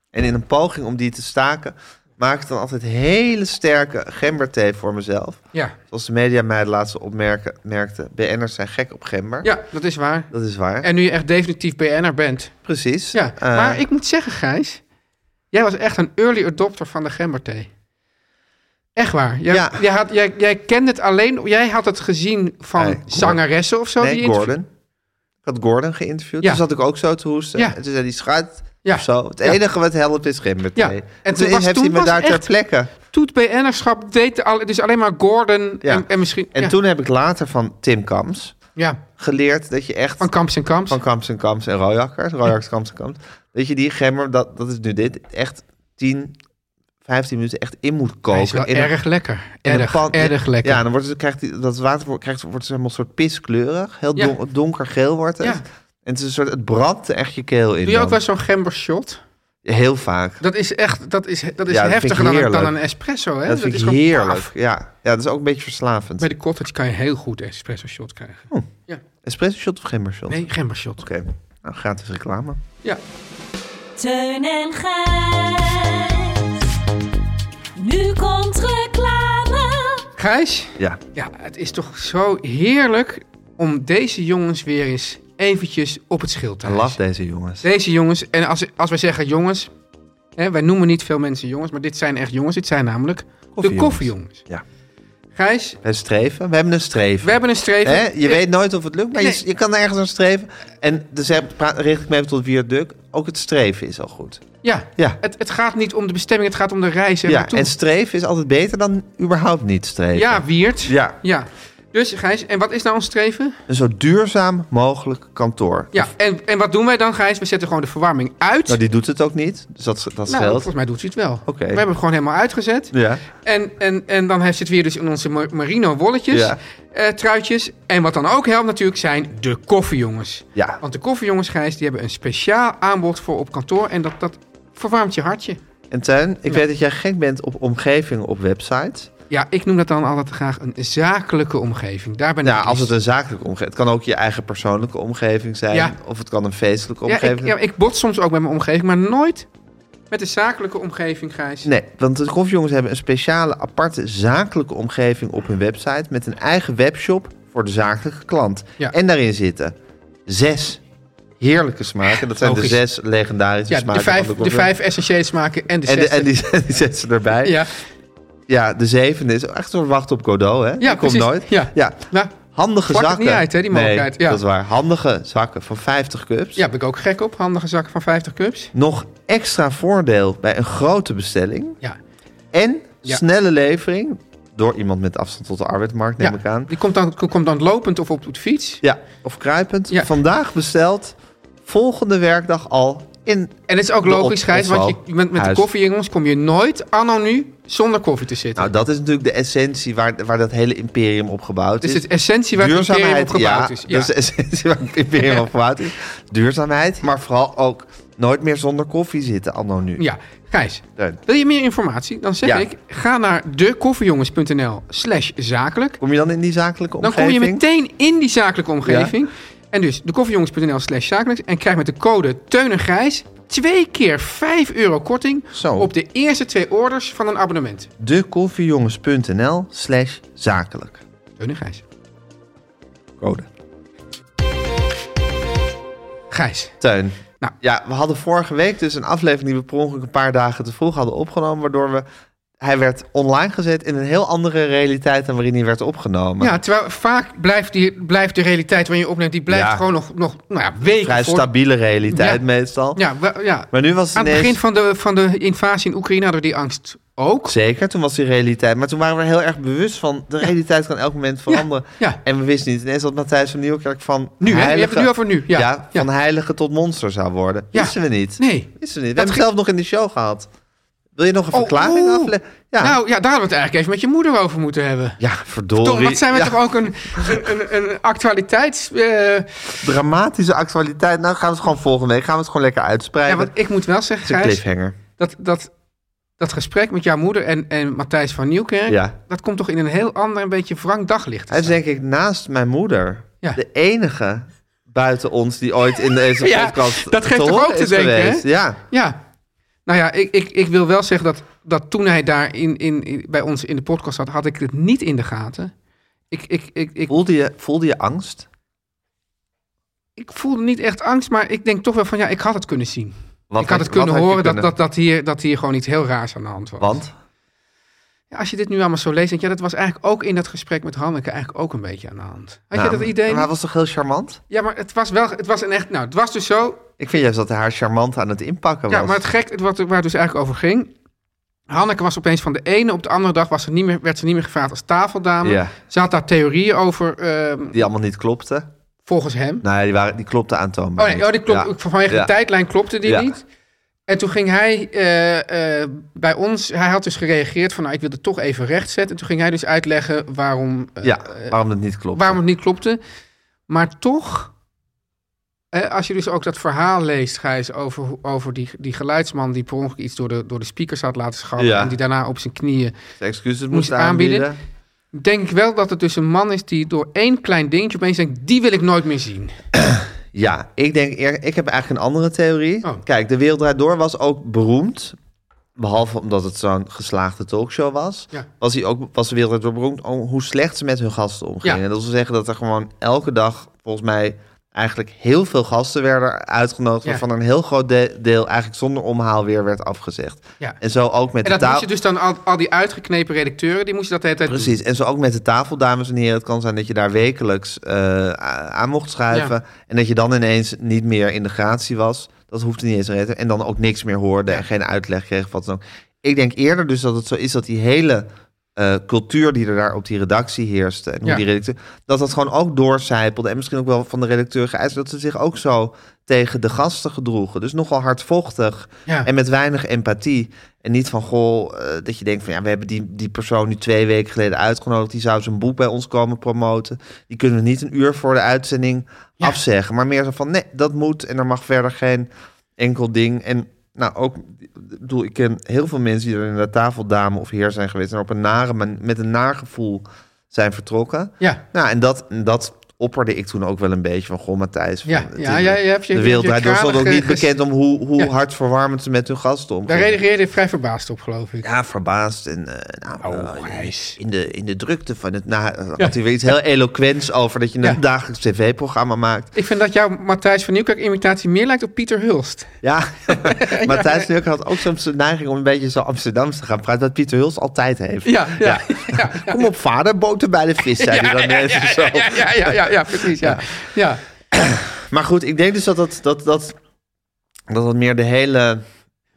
Speaker 1: En in een poging om die te staken, maak ik dan altijd hele sterke gemberthee voor mezelf.
Speaker 2: Ja.
Speaker 1: Zoals de media mij de laatste opmerken, merkte, BN'ers zijn gek op gember.
Speaker 2: ja, dat is waar.
Speaker 1: Dat is waar.
Speaker 2: En nu je echt definitief BN'er bent.
Speaker 1: Precies.
Speaker 2: Ja,
Speaker 1: Eh,
Speaker 2: maar ik moet zeggen, Gijs, jij was echt een early adopter van de gemberthee. Echt waar. Jij,
Speaker 1: Ja.
Speaker 2: jij, had, jij, jij kende het alleen, jij had het gezien van
Speaker 1: Nee, Gordon.
Speaker 2: zangeressen of zo.
Speaker 1: Eh, nee,
Speaker 2: die interview-
Speaker 1: Gordon. Ik had Gordon geïnterviewd.
Speaker 2: Ja.
Speaker 1: Toen zat ik ook zo te hoesten.
Speaker 2: Ja.
Speaker 1: En toen zei hij, schuit
Speaker 2: Ja.
Speaker 1: of zo. Het
Speaker 2: Ja.
Speaker 1: enige wat helpt is gemberthee.
Speaker 2: Ja. En
Speaker 1: En,
Speaker 2: toen
Speaker 1: toen,
Speaker 2: was-
Speaker 1: heeft
Speaker 2: toen
Speaker 1: hij me
Speaker 2: was
Speaker 1: daar ter
Speaker 2: echt-
Speaker 1: plekke.
Speaker 2: Toet BN'erschap deed al, dus alleen maar Gordon
Speaker 1: Ja.
Speaker 2: en, en misschien...
Speaker 1: En
Speaker 2: ja,
Speaker 1: toen heb ik later van Tim Kams
Speaker 2: ja,
Speaker 1: geleerd dat je echt
Speaker 2: van Kamps en Kamps.
Speaker 1: van Kams en Kams en Royakkers, Royakkers, Kams en Kams, dat je die gember, dat, dat is nu dit, echt 10, 15 minuten echt in moet
Speaker 2: Hij
Speaker 1: koken.
Speaker 2: is wel
Speaker 1: in een-
Speaker 2: erg lekker.
Speaker 1: in een
Speaker 2: Erg,
Speaker 1: pan-
Speaker 2: erg lekker.
Speaker 1: Ja, dan wordt het, krijgt die, dat water wordt- krijgt, wordt het helemaal een soort piskleurig. Heel
Speaker 2: Ja.
Speaker 1: don- donkergeel wordt het.
Speaker 2: Ja.
Speaker 1: En het, is een soort, het brandt echt je keel in.
Speaker 2: Doe je ook
Speaker 1: dan.
Speaker 2: wel zo'n gembershot?
Speaker 1: Heel vaak.
Speaker 2: Dat is echt, dat is, dat is
Speaker 1: Ja, dat vind
Speaker 2: heftiger
Speaker 1: ik
Speaker 2: dan, een-
Speaker 1: heerlijk.
Speaker 2: dan een espresso, hè?
Speaker 1: dat vind
Speaker 2: is
Speaker 1: ik
Speaker 2: gewoon
Speaker 1: heerlijk.
Speaker 2: paf.
Speaker 1: Ja. ja, dat is ook een beetje verslavend.
Speaker 2: Bij de cottage kan je heel goed espresso shot krijgen.
Speaker 1: Espresso shot of gembershot?
Speaker 2: Nee, gembershot.
Speaker 1: Oh. Oké, nou gratis reclame.
Speaker 2: Ja.
Speaker 4: Teun en Gijs. Nu komt reclame.
Speaker 2: Gijs,
Speaker 1: Ja,
Speaker 2: ja, het is toch zo heerlijk om deze jongens weer eens eventjes op het schild te
Speaker 1: en laf
Speaker 2: hijsen.
Speaker 1: deze jongens.
Speaker 2: Deze jongens, en als, als wij zeggen jongens, hè, wij noemen niet veel mensen jongens, maar dit zijn echt jongens. Dit zijn namelijk de
Speaker 1: Koffiejongens.
Speaker 2: koffiejongens.
Speaker 1: Ja.
Speaker 2: Gijs,
Speaker 1: We streven. We hebben een streven.
Speaker 2: we hebben een streven.
Speaker 1: Hè? Je weet nooit of het lukt, maar
Speaker 2: Nee.
Speaker 1: je, je kan ergens aan streven. En dus hè, pra- richt ik me even tot Wierd Duk. Ook het streven is al goed.
Speaker 2: Ja,
Speaker 1: Ja.
Speaker 2: Het, het gaat niet om de bestemming, het gaat om de reis. er
Speaker 1: Ja,
Speaker 2: naartoe.
Speaker 1: en streven is altijd beter dan überhaupt niet streven.
Speaker 2: ja Wiert.
Speaker 1: Ja,
Speaker 2: ja. Dus Gijs, en wat is nou ons streven?
Speaker 1: een zo duurzaam mogelijk kantoor.
Speaker 2: Ja, en, en wat doen wij dan, Gijs? We zetten gewoon de verwarming uit.
Speaker 1: Nou, die doet het ook niet, dus dat, dat
Speaker 2: Nou,
Speaker 1: scheelt.
Speaker 2: volgens mij doet ze het wel.
Speaker 1: Oké.
Speaker 2: We hebben het gewoon helemaal uitgezet.
Speaker 1: Ja.
Speaker 2: En, en, en dan heeft ze het weer dus in onze mar- merino wolletjes,
Speaker 1: Ja.
Speaker 2: eh, truitjes. En wat dan ook helpt natuurlijk zijn de koffiejongens.
Speaker 1: Ja.
Speaker 2: Want de koffiejongens, Gijs, die hebben een speciaal aanbod voor op kantoor. En dat, dat verwarmt je hartje.
Speaker 1: En Tuin, ik weet dat jij gek bent op omgevingen op websites.
Speaker 2: Ja, ik noem dat dan altijd graag een zakelijke omgeving. Daar ben
Speaker 1: Nou,
Speaker 2: ik
Speaker 1: als het
Speaker 2: liefst.
Speaker 1: een zakelijke omgeving... Het kan ook je eigen persoonlijke omgeving zijn.
Speaker 2: Ja.
Speaker 1: Of het kan een feestelijke
Speaker 2: ja,
Speaker 1: omgeving
Speaker 2: ik,
Speaker 1: zijn.
Speaker 2: ja, ik bot soms ook met mijn omgeving, maar nooit met de zakelijke omgeving, Gijs.
Speaker 1: Nee, want de koffiejongens hebben een speciale aparte zakelijke omgeving op hun website met een eigen webshop voor de zakelijke klant.
Speaker 2: Ja.
Speaker 1: En daarin zitten zes heerlijke smaken. Dat zijn
Speaker 2: Logisch.
Speaker 1: de zes legendarische
Speaker 2: Ja,
Speaker 1: smaken.
Speaker 2: de vijf,
Speaker 1: van
Speaker 2: de vijf essentiële smaken en de
Speaker 1: En, de,
Speaker 2: zesde.
Speaker 1: en die, die zet ze erbij. Ja.
Speaker 2: Ja,
Speaker 1: de zevende is echt een wacht op Godot, hè? die komt
Speaker 2: precies.
Speaker 1: nooit.
Speaker 2: Ja. nou,
Speaker 1: Handige
Speaker 2: Plak het
Speaker 1: zakken.
Speaker 2: niet uit, hè, die mogelijkheid.
Speaker 1: Nee,
Speaker 2: Ja.
Speaker 1: dat is waar. Handige zakken van 50 cups.
Speaker 2: ja, ben ik ook gek op. Handige zakken van 50 cups.
Speaker 1: Nog extra voordeel bij een grote bestelling.
Speaker 2: Ja,
Speaker 1: En
Speaker 2: Ja.
Speaker 1: snelle levering door iemand met afstand tot de arbeidsmarkt, neem
Speaker 2: ja.
Speaker 1: ik aan.
Speaker 2: Die komt dan, komt dan lopend of op de fiets.
Speaker 1: Ja, of kruipend.
Speaker 2: Ja.
Speaker 1: Vandaag besteld, volgende werkdag al in.
Speaker 2: En het is ook
Speaker 1: De
Speaker 2: logisch,
Speaker 1: op-
Speaker 2: Gijs, want je,
Speaker 1: opval-
Speaker 2: je bent met de
Speaker 1: huis.
Speaker 2: koffiejongens kom je nooit anno nu zonder koffie te zitten.
Speaker 1: Nou, dat is natuurlijk de essentie waar, waar dat hele imperium op gebouwd
Speaker 2: dus
Speaker 1: is.
Speaker 2: het essentie waar het imperium op gebouwd
Speaker 1: ja,
Speaker 2: is.
Speaker 1: Dat is de essentie waar het imperium op gebouwd is. Duurzaamheid, maar vooral ook nooit meer zonder koffie zitten, anno nu.
Speaker 2: ja, Gijs,
Speaker 1: Teun,
Speaker 2: wil je meer informatie? Dan zeg
Speaker 1: Ja.
Speaker 2: ik, ga naar dekoffiejongens.nl slash zakelijk.
Speaker 1: Kom je dan in die zakelijke
Speaker 2: Dan
Speaker 1: omgeving?
Speaker 2: kom je meteen in die zakelijke omgeving. En dus dekoffiejongens.nl slash zakelijk. En krijg met de code Teun en Gijs twee keer 5 euro korting
Speaker 1: Zo.
Speaker 2: op de eerste twee orders van een abonnement.
Speaker 1: Dekoffiejongens.nl slash zakelijk.
Speaker 2: Teun en Gijs.
Speaker 1: Code.
Speaker 2: Gijs.
Speaker 1: Teun.
Speaker 2: Nou.
Speaker 1: Ja, we hadden vorige week dus een aflevering die we per ongeluk een paar dagen te vroeg hadden opgenomen. Waardoor we... Hij werd online gezet in een heel andere realiteit dan waarin hij werd opgenomen.
Speaker 2: Ja, terwijl vaak blijft, die, blijft de realiteit waarin je opneemt, die blijft
Speaker 1: Ja.
Speaker 2: gewoon nog, nog nou ja, weken
Speaker 1: Vrij
Speaker 2: voor.
Speaker 1: stabiele realiteit
Speaker 2: Ja.
Speaker 1: meestal.
Speaker 2: Ja, wa- ja.
Speaker 1: Maar nu was het
Speaker 2: Aan het
Speaker 1: ineens-
Speaker 2: begin van de, van de invasie in Oekraïne hadden we die angst ook.
Speaker 1: Zeker, toen was die realiteit. Maar toen waren we er heel erg bewust van... de realiteit kan elk moment veranderen.
Speaker 2: ja.
Speaker 1: En we wisten niet ineens dat Matthijs van Nieuwkerk van...
Speaker 2: Nu, hè? Je
Speaker 1: heilige-
Speaker 2: hebt het nu over nu, ja. Ja.
Speaker 1: van heilige tot monster zou worden.
Speaker 2: Ja.
Speaker 1: Wisten we niet.
Speaker 2: Nee.
Speaker 1: Wisten we niet. We
Speaker 2: Dat
Speaker 1: hebben het
Speaker 2: ging-
Speaker 1: zelf nog in de show gehad. Wil je nog een
Speaker 2: Oh,
Speaker 1: verklaring
Speaker 2: oeh.
Speaker 1: afleggen? Ja.
Speaker 2: Nou ja, daar hadden we het eigenlijk even met je moeder over moeten hebben.
Speaker 1: ja, verdorie.
Speaker 2: Toch, wat zijn we
Speaker 1: Ja,
Speaker 2: toch ook een, een, een, een actualiteits... eh,
Speaker 1: Dramatische actualiteit. Nou gaan we het gewoon volgende week. Gaan we het gewoon lekker
Speaker 2: ja,
Speaker 1: uitspreiden.
Speaker 2: want ik moet wel zeggen,
Speaker 1: Het is een
Speaker 2: Gijs,
Speaker 1: cliffhanger.
Speaker 2: dat, dat, dat gesprek met jouw moeder en, en Matthijs van Nieuwkerk...
Speaker 1: Ja.
Speaker 2: dat komt toch in een heel ander, een beetje wrang daglicht. te
Speaker 1: Hij is
Speaker 2: staan.
Speaker 1: denk ik naast mijn moeder
Speaker 2: Ja.
Speaker 1: de enige buiten ons die ooit in deze
Speaker 2: Ja,
Speaker 1: podcast
Speaker 2: dat geeft
Speaker 1: te
Speaker 2: toch
Speaker 1: horen
Speaker 2: ook te
Speaker 1: is
Speaker 2: denken, hè?
Speaker 1: geweest. Ja,
Speaker 2: Ja. Nou ja, ik, ik, ik wil wel zeggen dat, dat toen hij daar in, in, in- bij ons in de podcast zat, had ik het niet in de gaten. Ik, ik, ik, ik,
Speaker 1: voelde je, voelde je angst?
Speaker 2: ik voelde niet echt angst, maar ik denk toch wel van ja, ik had het kunnen zien.
Speaker 1: Wat
Speaker 2: ik had het
Speaker 1: wat
Speaker 2: kunnen
Speaker 1: je
Speaker 2: horen dat,
Speaker 1: kunnen-
Speaker 2: Dat, dat, hier, dat hier gewoon iets heel raars aan de hand was.
Speaker 1: Want?
Speaker 2: Ja, als je dit nu allemaal zo leest, denk je, ja, dat was eigenlijk ook in dat gesprek met Hanneke eigenlijk ook een beetje aan de hand. Had
Speaker 1: Nou,
Speaker 2: je dat idee?
Speaker 1: Maar
Speaker 2: niet?
Speaker 1: hij was toch heel charmant?
Speaker 2: Ja, maar het was wel, het was een echt, nou, het was dus zo,
Speaker 1: Ik vind juist dat hij haar charmant aan het inpakken was.
Speaker 2: Ja, maar het gek, het wat, waar het dus eigenlijk over ging. Hanneke was opeens van de ene op de andere dag was ze niet meer, werd ze niet meer gevraagd als tafeldame.
Speaker 1: Ja.
Speaker 2: Ze had daar theorieën over, ehm,
Speaker 1: Die allemaal niet klopte.
Speaker 2: volgens hem.
Speaker 1: Nee, die, waren, die klopte aantoonbaar
Speaker 2: Oh nee,
Speaker 1: niet.
Speaker 2: oh, die klopt,
Speaker 1: Ja.
Speaker 2: vanwege
Speaker 1: Ja.
Speaker 2: de tijdlijn klopte die
Speaker 1: Ja.
Speaker 2: niet. En toen ging hij eh, eh, bij ons, hij had dus gereageerd van nou, ik wil het toch even rechtzetten. En toen ging hij dus uitleggen waarom, eh,
Speaker 1: Ja, waarom dat niet klopt.
Speaker 2: waarom het niet klopte. Maar toch, eh, als je dus ook dat verhaal leest, Gijs, over, hoe- over die, die geluidsman die per ongeluk iets door de, door de speakers had laten scharrelen
Speaker 1: Ja.
Speaker 2: en die daarna op zijn knieën.
Speaker 1: De excuses
Speaker 2: moest
Speaker 1: moest
Speaker 2: je aanbieden.
Speaker 1: aanbieden.
Speaker 2: Denk ik wel dat het dus een man is die door één klein dingetje opeens denkt, die wil ik nooit meer zien.
Speaker 1: Ja, ik denk eer- ik heb eigenlijk een andere theorie.
Speaker 2: Oh.
Speaker 1: Kijk, De Wereld Draait Door was ook beroemd. Behalve omdat het zo'n geslaagde talkshow was.
Speaker 2: Ja.
Speaker 1: Was, hij ook, was De Wereld Draait Door beroemd om hoe slecht ze met hun gasten omgingen.
Speaker 2: Ja.
Speaker 1: Dat wil zeggen dat er gewoon elke dag volgens mij eigenlijk heel veel gasten werden uitgenodigd...
Speaker 2: Ja.
Speaker 1: waarvan een heel groot de- deel eigenlijk zonder omhaal weer werd afgezegd.
Speaker 2: Ja.
Speaker 1: En zo ook met
Speaker 2: En
Speaker 1: de
Speaker 2: dat
Speaker 1: taal...
Speaker 2: moest je dus dan al, al die uitgeknepen redacteuren, die moest je dat de hele tijd doen.
Speaker 1: Precies, en zo ook met de tafel, dames en heren. Het kan zijn dat je daar wekelijks eh, a- aan mocht schuiven. En dat je dan ineens niet meer in de gratie was. Dat hoeft niet eens te redden. En dan ook niks meer hoorde en geen uitleg kreeg. of Wat dan ook. Ik denk eerder dus dat het zo is dat die hele eh, cultuur die er daar op die redactie heerste. En hoe
Speaker 2: Ja.
Speaker 1: die redacteur, dat dat gewoon ook doorcijpelde. En misschien ook wel van de redacteur geëist. Dat ze zich ook zo tegen de gasten gedroegen. Dus nogal hardvochtig.
Speaker 2: Ja.
Speaker 1: En met weinig empathie. En niet van, goh, eh, dat je denkt van... ja, we hebben die, die persoon nu twee weken geleden uitgenodigd. Die zou zijn boek bij ons komen promoten. Die kunnen we niet een uur voor de uitzending
Speaker 2: Ja.
Speaker 1: afzeggen. Maar meer zo van, nee, dat moet. En er mag verder geen enkel ding. En nou, ook... Ik bedoel, ik ken heel veel mensen die er in de tafeldame of heer zijn geweest... en op een nare, man- met een naar gevoel zijn vertrokken.
Speaker 2: Ja.
Speaker 1: Nou, en dat... en dat opperde ik toen ook wel een beetje van, goh, Matthijs... van,
Speaker 2: Ja,
Speaker 1: het
Speaker 2: ja,
Speaker 1: is-
Speaker 2: ja, je hebt je-
Speaker 1: de
Speaker 2: je
Speaker 1: wereld
Speaker 2: hebt je
Speaker 1: draait door, stond ook
Speaker 2: kranig,
Speaker 1: niet
Speaker 2: eh, ges-
Speaker 1: bekend om hoe, hoe
Speaker 2: Ja.
Speaker 1: hartverwarmend ze met hun gasten
Speaker 2: Daar
Speaker 1: omgingen.
Speaker 2: reageerde je vrij verbaasd op, geloof ik.
Speaker 1: Ja, verbaasd. En, eh, nou,
Speaker 2: Oh,
Speaker 1: eh,
Speaker 2: Gijs.
Speaker 1: in, de, in de drukte van het... Na, had hij weer iets heel eloquents over dat je een
Speaker 2: Ja.
Speaker 1: dagelijks tv-programma maakt.
Speaker 2: Ik vind dat jouw Matthijs van Nieuwkerk-imitatie meer lijkt op Pieter Hulst.
Speaker 1: Ja, Matthijs Nurk had ook soms de neiging om een beetje zo Amsterdams te gaan praten. Wat Pieter Huls altijd heeft.
Speaker 2: Ja, ja, ja.
Speaker 1: Kom op vader, boter bij de vis, zei hij dan even zo.
Speaker 2: Ja, ja, ja, ja, ja, ja, precies, ja. ja.
Speaker 1: Maar goed, ik denk dus dat dat, dat, dat, dat, dat meer de hele...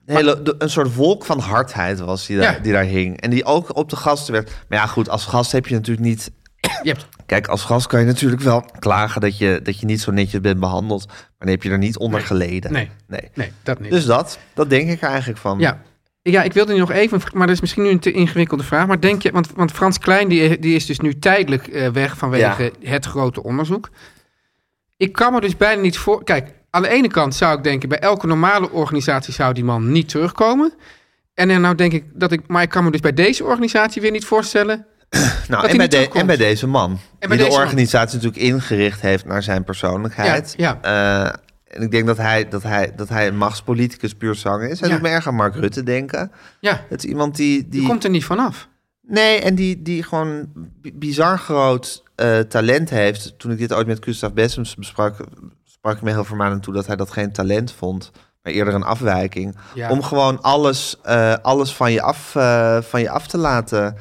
Speaker 1: de hele de- een soort wolk van hardheid was die, daar,
Speaker 2: Ja.
Speaker 1: die daar hing. En die ook op de gasten werd... Maar ja, goed, als gast heb je natuurlijk niet
Speaker 2: Je hebt
Speaker 1: Kijk, als gast kan je natuurlijk wel klagen dat je, dat je niet zo netjes bent behandeld. Maar dan heb je er niet onder geleden.
Speaker 2: Nee.
Speaker 1: nee.
Speaker 2: Nee, dat niet.
Speaker 1: Dus dat, dat denk ik er eigenlijk van.
Speaker 2: ja. ja, ik wilde nu nog even, maar dat is misschien nu een te ingewikkelde vraag. Maar denk je, want, want Frans Klein die, die is dus nu tijdelijk eh, weg vanwege het grote onderzoek. Ik kan me dus bijna niet voor. Kijk, aan de ene kant zou ik denken, bij elke normale organisatie zou die man niet terugkomen. En dan nou denk ik dat ik, maar ik kan me dus bij deze organisatie weer niet voorstellen.
Speaker 1: nou, en,
Speaker 2: hij
Speaker 1: bij
Speaker 2: niet
Speaker 1: de-
Speaker 2: terugkomt.
Speaker 1: en bij deze man. die
Speaker 2: bij deze
Speaker 1: de
Speaker 2: man.
Speaker 1: organisatie natuurlijk ingericht heeft naar zijn persoonlijkheid.
Speaker 2: Ja,
Speaker 1: ja. En ik denk dat hij, dat hij, dat hij een machtspoliticus puur zang is. Hij
Speaker 2: Ja.
Speaker 1: doet me erg aan Mark Rutte denken.
Speaker 2: Ja,
Speaker 1: Het is iemand die...
Speaker 2: je
Speaker 1: die
Speaker 2: komt er niet vanaf.
Speaker 1: Nee, en die, die gewoon bi- bizar groot eh, talent heeft. Toen ik dit ooit met Gustav Bessems besprak... sprak ik me heel vermanend toe dat hij dat geen talent vond... maar eerder een afwijking.
Speaker 2: Ja.
Speaker 1: Om gewoon alles, eh, alles van, je af, eh, van je af te laten,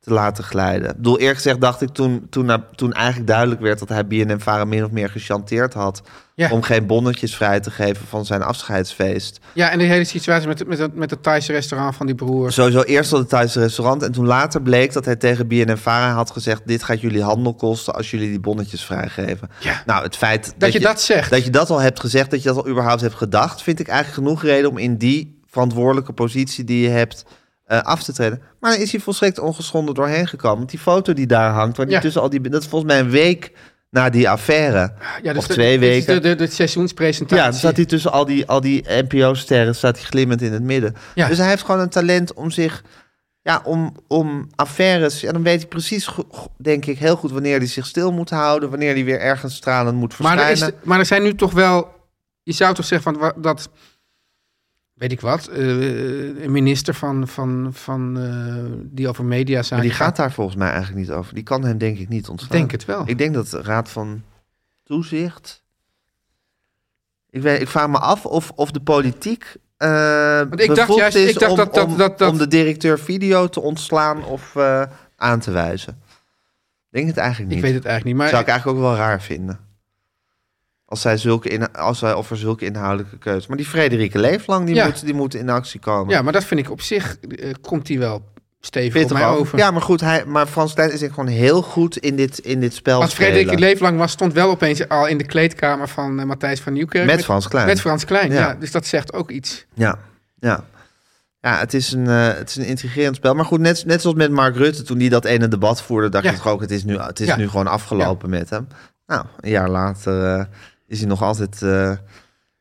Speaker 1: te laten glijden. Ik bedoel, eerlijk gezegd dacht ik toen, toen, na- toen eigenlijk duidelijk werd... dat hij BNM-Varen min of meer gechanteerd had...
Speaker 2: Ja.
Speaker 1: om geen bonnetjes vrij te geven van zijn afscheidsfeest.
Speaker 2: Ja, en die hele situatie met, met, dat- met het Thaise restaurant van die broer.
Speaker 1: Sowieso eerst dat het Thaise restaurant. En toen later bleek dat hij tegen BNNVARA had gezegd... dit gaat jullie handel kosten als jullie die bonnetjes vrijgeven.
Speaker 2: Ja.
Speaker 1: Nou, het feit dat,
Speaker 2: je dat zegt.
Speaker 1: Dat je dat al hebt gezegd, dat je dat al überhaupt hebt gedacht... vind ik eigenlijk genoeg reden om in die verantwoordelijke positie die je hebt... eh, af te treden. Maar dan is hij volstrekt ongeschonden doorheen gekomen. Want die foto die daar hangt, waar die
Speaker 2: Ja.
Speaker 1: tussen al die... dat is volgens mij een week na die affaire.
Speaker 2: Ja, dus
Speaker 1: of twee
Speaker 2: dit is
Speaker 1: weken.
Speaker 2: De, de, de seizoenspresentatie.
Speaker 1: Ja, dus dan staat hij tussen al die, al die NPO-sterren staat hij glimmend in het midden.
Speaker 2: Ja.
Speaker 1: Dus hij heeft gewoon een talent om zich... Ja, om, om affaires... Ja, dan weet hij precies, go- go- denk ik, heel goed... wanneer hij zich stil moet houden... wanneer hij weer ergens stralend moet
Speaker 2: maar,
Speaker 1: verschijnen.
Speaker 2: er is, maar er zijn nu toch wel... Je zou toch zeggen van, wa- dat... Weet ik wat, eh, een minister van, van, van, eh, die over media
Speaker 1: Maar
Speaker 2: zijn.
Speaker 1: die gaat daar volgens mij eigenlijk niet over. Die kan hem denk ik niet
Speaker 2: Ik
Speaker 1: ontslaan.
Speaker 2: denk het wel.
Speaker 1: Ik denk dat de Raad van Toezicht... Ik, weet, ik vraag me af of, of de politiek... eh
Speaker 2: ik dacht
Speaker 1: bevoegd
Speaker 2: juist-
Speaker 1: is
Speaker 2: ik dacht
Speaker 1: om,
Speaker 2: dat- dat-
Speaker 1: om-
Speaker 2: dat- dat-
Speaker 1: om de directeur video te ontslaan of eh, aan te wijzen. Ik denk het eigenlijk niet.
Speaker 2: Ik weet het eigenlijk niet. Maar
Speaker 1: Zou ik eigenlijk ook wel raar vinden. Als zij, zulke in, als zij of er zulke inhoudelijke keuzes... Maar die Frederike Leeflang, die,
Speaker 2: Ja.
Speaker 1: moet, die moet in actie komen.
Speaker 2: Ja, maar dat vind ik op zich, eh, komt hij wel stevig op
Speaker 1: Pittig
Speaker 2: mij
Speaker 1: ook.
Speaker 2: over.
Speaker 1: Ja, maar goed, hij, maar Frans Klein is denk ik gewoon heel goed in dit, in dit spel.
Speaker 2: Als
Speaker 1: spelen.
Speaker 2: Frederik leeflang was, stond wel opeens al in de kleedkamer van eh, Matthijs van Nieuwkerk.
Speaker 1: Met Frans Klein.
Speaker 2: met Frans Klein, ja.
Speaker 1: Ja.
Speaker 2: Dus dat zegt ook iets.
Speaker 1: Ja, ja. Ja, het is, een, eh, het is een intrigerend spel. Maar goed, net, net zoals met Mark Rutte, toen die dat ene debat voerde, dacht
Speaker 2: Ja.
Speaker 1: ik toch ook, het is nu, het is
Speaker 2: Ja.
Speaker 1: nu gewoon afgelopen met hem. Nou, een jaar later eh, is hij nog altijd, eh,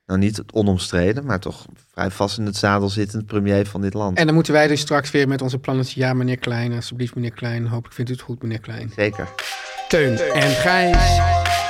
Speaker 1: nou niet onomstreden, maar toch vrij vast in het zadel zittend premier van dit land.
Speaker 2: En dan moeten wij dus straks weer met onze plannetje. Ja, meneer Klein, alsjeblieft, meneer Klein. Hopelijk vindt u het goed, meneer Klein.
Speaker 1: Zeker.
Speaker 3: Teun en Gijs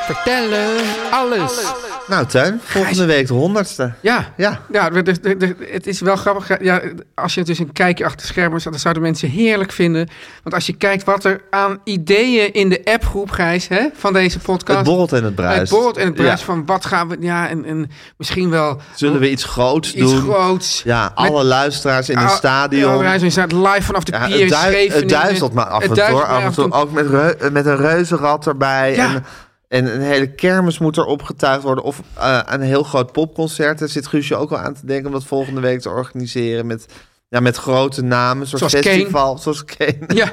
Speaker 3: vertellen alles.
Speaker 1: Nou, Tuin, volgende week de honderdste.
Speaker 2: Ja.
Speaker 1: Ja,
Speaker 2: Ja, de- de- de- het is wel grappig. Ja, als je dus een kijkje achter de schermen zet, dan zouden mensen heerlijk vinden. Want als je kijkt wat er aan ideeën in de appgroep, Gijs, hè, van deze
Speaker 1: het
Speaker 2: podcast.
Speaker 1: borrelt en het bruist.
Speaker 2: Het borrelt en het bruist
Speaker 1: Ja.
Speaker 2: van wat gaan we... Ja, en, en misschien wel
Speaker 1: Zullen we iets groots
Speaker 2: iets
Speaker 1: doen?
Speaker 2: groots.
Speaker 1: Ja,
Speaker 2: Met-
Speaker 1: alle luisteraars in een
Speaker 2: Ah,
Speaker 1: stadion.
Speaker 2: Ja, hij staat live vanaf de
Speaker 1: Ja,
Speaker 2: pier in
Speaker 1: het, dui- het
Speaker 2: Scheveningen.
Speaker 1: duizelt maar af
Speaker 2: Het
Speaker 1: en toe.
Speaker 2: duizelt
Speaker 1: hoor.
Speaker 2: maar
Speaker 1: Af en toe ook met, reu- eh, met een reuzenrad erbij.
Speaker 2: Ja.
Speaker 1: En, en een hele kermis moet er opgetuigd worden. Of eh, een heel groot popconcert. Daar zit Guusje ook al aan te denken om dat volgende week te organiseren. Met, ja, met grote namen. Zoals,
Speaker 2: Zoals Kane.
Speaker 1: festival. Zoals Kane.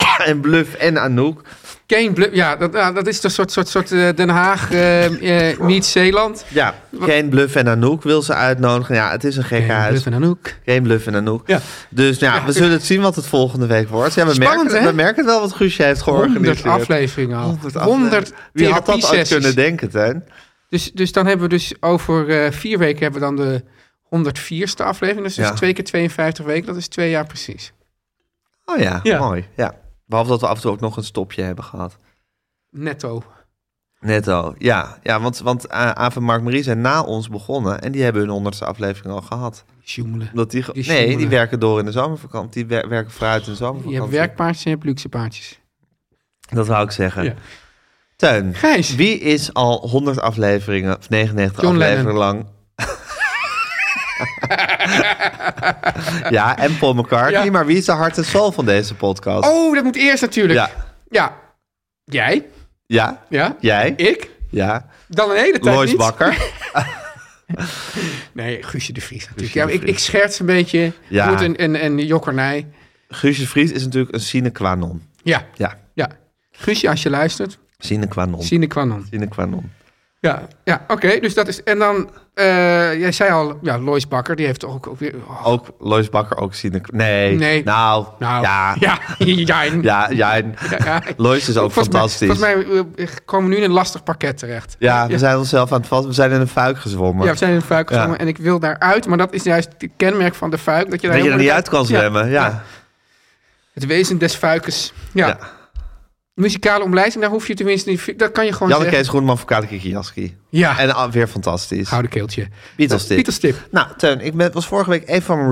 Speaker 2: Ja,
Speaker 1: en Bluff en Anouk.
Speaker 2: Kane Bluff. Ja, dat, nou, dat is een soort, soort, soort eh, Den Haag eh eh, meets Zeeland.
Speaker 1: Ja, Kane, Bluff en Anouk wil ze uitnodigen. Ja, het is een gekke
Speaker 2: Kane
Speaker 1: huis.
Speaker 2: Bluff en Anouk.
Speaker 1: Geen bluff en Anouk.
Speaker 2: Ja.
Speaker 1: Dus ja, we zullen het zien wat het volgende week wordt. Ja, we,
Speaker 2: Spannend,
Speaker 1: merken,
Speaker 2: hè?
Speaker 1: we merken het wel wat Guusje heeft
Speaker 2: 100
Speaker 1: georganiseerd.
Speaker 2: afleveringen al. 100,
Speaker 1: Honderd afleveringen. Wie had dat ooit
Speaker 2: therapiesessies.
Speaker 1: kunnen denken, Tuin?
Speaker 2: Dus, dus dan hebben we dus over eh, vier weken hebben we dan de 104ste aflevering. Dus, dus
Speaker 1: Ja.
Speaker 2: twee keer 52 weken, dat is twee jaar precies.
Speaker 1: Oh ja,
Speaker 2: Ja.
Speaker 1: mooi. Ja. Behalve dat we af en toe ook nog een stopje hebben gehad.
Speaker 2: Netto.
Speaker 1: Net al, ja. ja want want eh, Aaf en Mark Marie zijn na ons begonnen... en die hebben hun honderdste aflevering al gehad.
Speaker 2: Joemelen.
Speaker 1: Omdat die, ge-
Speaker 2: Die
Speaker 1: nee, die
Speaker 2: sjoemelen.
Speaker 1: werken door in de zomervakantie. Die wer- werken vooruit in de
Speaker 2: Je hebt
Speaker 1: zomervakantie.
Speaker 2: werkpaardjes en je hebt luxe paardjes.
Speaker 1: Dat wou ik zeggen.
Speaker 2: Ja.
Speaker 1: Tuin,
Speaker 2: Gijs.
Speaker 1: wie is al 100 afleveringen... of 99
Speaker 2: John
Speaker 1: afleveringen lang... ja, en Paul McCartney.
Speaker 2: Ja.
Speaker 1: Maar wie is de hart en ziel van deze podcast?
Speaker 2: Oh, dat moet eerst natuurlijk.
Speaker 1: Ja,
Speaker 2: Ja. Jij?
Speaker 1: ja,
Speaker 2: Ja.
Speaker 1: jij,
Speaker 2: Ik?
Speaker 1: ja.
Speaker 2: Dan een hele tijd
Speaker 1: Lois
Speaker 2: niet.
Speaker 1: Bakker.
Speaker 2: Nee, Guusje de Vries natuurlijk.
Speaker 1: Guusje
Speaker 2: ja,
Speaker 1: de
Speaker 2: ik,
Speaker 1: Vries.
Speaker 2: ik scherts een beetje.
Speaker 1: Ja.
Speaker 2: Ja. Moet een, een, een jokkernij.
Speaker 1: Guusje Vries is natuurlijk een sine qua non.
Speaker 2: Ja,
Speaker 1: Ja,
Speaker 2: ja. Guusje, als je luistert,
Speaker 1: sine qua non.
Speaker 2: sine qua non.
Speaker 1: Sine qua non.
Speaker 2: Ja, ja oké. dus dat is... En dan, eh, jij zei al, ja, Lois Bakker, die heeft toch ook, ook weer... oh,
Speaker 1: Ook Lois Bakker, ook sine qua... Nee.
Speaker 2: Nee.
Speaker 1: Nou,
Speaker 2: nou,
Speaker 1: ja. Ja,
Speaker 2: Ja, ja. en-
Speaker 1: ja.
Speaker 2: ja.
Speaker 1: Lois is ook
Speaker 2: Volgens mij-
Speaker 1: fantastisch.
Speaker 2: volgens mij eh, komen we nu in een lastig pakket terecht.
Speaker 1: ja, we
Speaker 2: ja.
Speaker 1: zijn onszelf aan het vast. We zijn in een fuik gezwommen.
Speaker 2: Ja, we zijn in de fuik
Speaker 1: Ja.
Speaker 2: gezongen en ik wil daaruit. Maar dat is juist het kenmerk van de fuik. Dat je, daar
Speaker 1: dat je er
Speaker 2: helemaal
Speaker 1: niet uit kan zwemmen. Ja.
Speaker 2: Het wezen des fuikes. Ja.
Speaker 1: Ja.
Speaker 2: muzikale omlijsting, daar hoef je tenminste niet... Dat kan je gewoon
Speaker 1: Janneke
Speaker 2: zeggen.
Speaker 1: Kees Groenman voor Kale Kikiaski.
Speaker 2: Ja,
Speaker 1: En ah, weer fantastisch.
Speaker 2: gouden keeltje.
Speaker 1: Beatles tip.
Speaker 2: Pieter Stip.
Speaker 1: Nou, Teun, ik ben, was vorige week even van mijn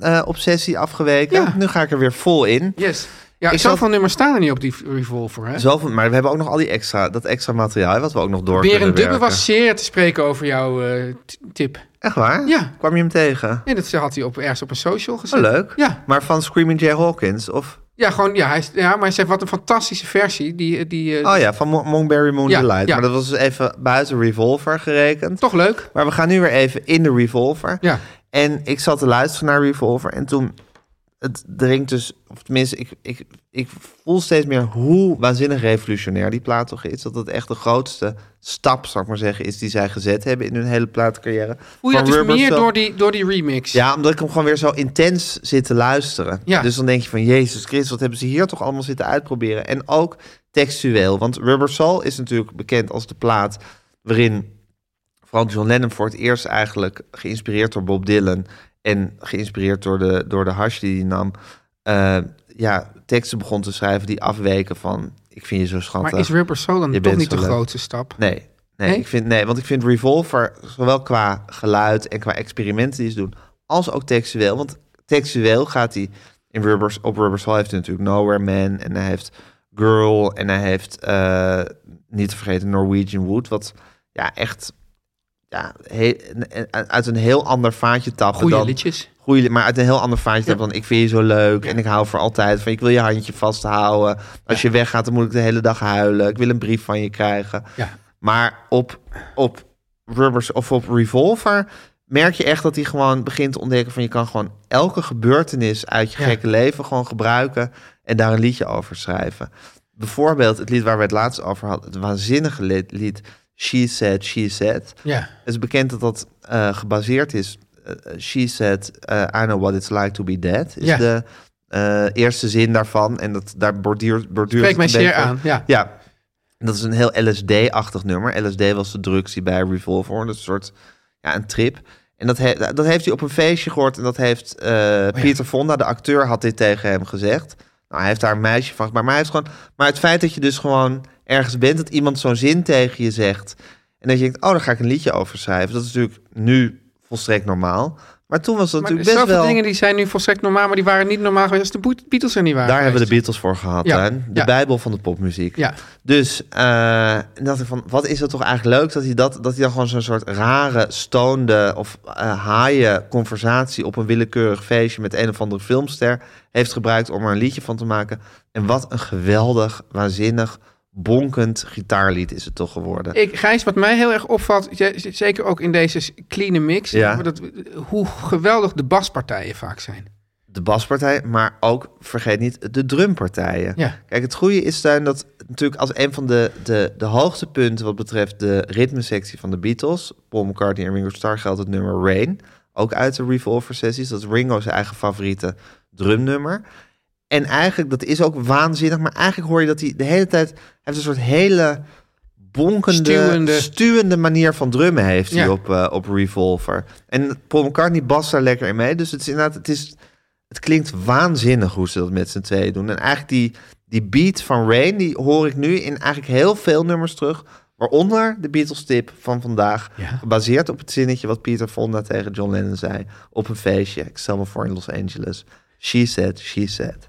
Speaker 1: Revolver-obsessie afgeweken.
Speaker 2: Ja.
Speaker 1: Nu ga ik er weer vol in.
Speaker 2: Yes. Ja,
Speaker 1: Ik
Speaker 2: zoveel
Speaker 1: zat-
Speaker 2: nummers staan er niet op die revolver, hè?
Speaker 1: Zo van, maar we hebben ook nog al die extra, dat extra materiaal hè, wat we ook nog door
Speaker 2: Weer
Speaker 1: kunnen
Speaker 2: een dubbe
Speaker 1: werken.
Speaker 2: was zeer te spreken over jouw eh, t- tip.
Speaker 1: Echt waar?
Speaker 2: Ja.
Speaker 1: Kwam je hem tegen?
Speaker 2: Nee, dat had hij op, ergens op een social gezet.
Speaker 1: Oh, leuk.
Speaker 2: Ja,
Speaker 1: Maar van Screaming Jay Hawkins of...
Speaker 2: ja, gewoon, ja, hij, is- ja, maar hij zegt wat een fantastische versie. Die, die, eh,
Speaker 1: Oh ja, van Mo- Monkberry Moon
Speaker 2: Ja,
Speaker 1: Delight.
Speaker 2: ja.
Speaker 1: Maar dat was dus even buiten Revolver gerekend.
Speaker 2: Toch leuk.
Speaker 1: Maar we gaan nu weer even in de Revolver.
Speaker 2: Ja.
Speaker 1: En ik zat te luisteren naar Revolver en toen... Het dringt dus, of tenminste, ik, ik, ik voel steeds meer hoe waanzinnig revolutionair die plaat toch is. Dat het echt de grootste stap, zou ik maar zeggen, is die zij gezet hebben in hun hele plaatcarrière.
Speaker 2: Hoe je dat
Speaker 1: Van
Speaker 2: dus
Speaker 1: Rubber
Speaker 2: meer
Speaker 1: Soul-
Speaker 2: door die, door die remix.
Speaker 1: Ja, omdat ik hem gewoon weer zo intens zit te luisteren.
Speaker 2: Ja.
Speaker 1: Dus dan denk je van, Jezus Christus, wat hebben ze hier toch allemaal zitten uitproberen? En ook textueel, want Rubber Soul is natuurlijk bekend als de plaat waarin vooral John Lennon voor het eerst eigenlijk geïnspireerd door Bob Dylan en geïnspireerd door de, door de hash die hij nam, eh, ja, teksten begon te schrijven die afweken van, ik vind je zo schattig.
Speaker 2: maar is Rubber Soul dan
Speaker 1: eh, Je
Speaker 2: toch
Speaker 1: bent
Speaker 2: niet de
Speaker 1: zo leuk.
Speaker 2: grootste stap?
Speaker 1: Nee. Nee,
Speaker 2: Nee?
Speaker 1: Ik vind, nee, want ik vind Revolver, zowel qua geluid en qua experimenten die ze doen, als ook textueel. Want textueel gaat hij in Rubbers, op Rubber Soul heeft hij natuurlijk Nowhere Man en hij heeft Girl en hij heeft, eh, niet te vergeten, Norwegian Wood. Wat ja, echt ja, he- een- een- uit een heel ander vaatje tappen
Speaker 2: Goeie
Speaker 1: dan...
Speaker 2: liedjes.
Speaker 1: Goeie, li- maar uit een heel ander vaatje tappen dan ik vind je zo leuk en ik hou voor altijd van ik wil je handje vasthouden. Als je weggaat dan moet ik de hele dag huilen. Ik wil een brief van je krijgen.
Speaker 2: Ja.
Speaker 1: Maar op, op Rubbers of op Revolver merk je echt dat hij gewoon begint te ontdekken van je kan gewoon elke gebeurtenis uit je
Speaker 2: Ja.
Speaker 1: gekke leven gewoon gebruiken en daar een liedje over schrijven. Bijvoorbeeld het lied waar we het laatst over hadden, het waanzinnige lied, lied She Said, She Said.
Speaker 2: Ja.
Speaker 1: Het is bekend dat dat eh, gebaseerd is. eh, she said, eh, I know what it's like to be dead. Is
Speaker 2: Ja.
Speaker 1: de eh, eerste zin daarvan. En dat, daar borduurt, borduurt
Speaker 2: Spreek mij
Speaker 1: het een
Speaker 2: zeer
Speaker 1: beetje-
Speaker 2: aan. Ja.
Speaker 1: ja, dat is een heel LSD-achtig nummer. LSD was de drugs die bij Revolver hoorde. Dat is een soort, ja, een trip. En dat, he- dat heeft hij op een feestje gehoord. En dat heeft
Speaker 2: Oh
Speaker 1: eh Pieter Fonda, de acteur, had dit tegen hem gezegd. Nou, hij heeft daar een meisje van gemaakt. Maar, hij heeft gewoon, maar het feit dat je dus gewoon ergens bent... dat iemand zo'n zin tegen je zegt... en dat je denkt, oh, daar ga ik een liedje over schrijven. Dat is natuurlijk nu volstrekt normaal. Maar toen was dat
Speaker 2: Maar er
Speaker 1: natuurlijk
Speaker 2: zoveel
Speaker 1: best wel...
Speaker 2: dingen die zijn nu volstrekt normaal, maar die waren niet normaal geweest als de Boet- Beatles er niet waren
Speaker 1: Daar hebben we de
Speaker 2: geweest.
Speaker 1: Beatles voor gehad,
Speaker 2: Ja,
Speaker 1: Tuin. De
Speaker 2: ja.
Speaker 1: bijbel van de popmuziek.
Speaker 2: Ja.
Speaker 1: Dus eh, en dacht ik van, wat is dat toch eigenlijk leuk dat hij, dat, dat hij dan gewoon zo'n soort rare, stoonde of eh haaien conversatie op een willekeurig feestje met een of andere filmster heeft gebruikt om er een liedje van te maken. En wat een geweldig, waanzinnig, bonkend gitaarlied is het toch geworden.
Speaker 2: Ik, Gijs, wat mij heel erg opvalt, je- z- zeker ook in deze clean mix,
Speaker 1: Ja.
Speaker 2: maar dat, hoe geweldig de baspartijen vaak zijn.
Speaker 1: De baspartij, maar ook, vergeet niet, de drumpartijen.
Speaker 2: Ja.
Speaker 1: Kijk, het goede is Tuin, dat natuurlijk als een van de, de, de hoogtepunten wat betreft de ritmesectie van de Beatles, Paul McCartney en Ringo Starr geldt het nummer Rain, ook uit de Revolver sessies. Dat is Ringo zijn eigen favoriete drumnummer. En eigenlijk, dat is ook waanzinnig, maar eigenlijk hoor je dat hij de hele tijd, hij heeft een soort hele bonkende,
Speaker 2: Stuwende.
Speaker 1: stuwende, manier van drummen heeft hij
Speaker 2: Ja.
Speaker 1: op, eh, op Revolver. En Paul McCartney bast daar lekker in mee, dus het is inderdaad, het is... Het klinkt waanzinnig hoe ze dat met z'n tweeën doen. En eigenlijk die, die beat van Rain, die hoor ik nu in eigenlijk heel veel nummers terug. Waaronder de Beatles-tip van vandaag. Gebaseerd op het zinnetje wat Peter Fonda tegen John Lennon zei. Op een feestje. Ik stel me voor in Los Angeles. She said, she said.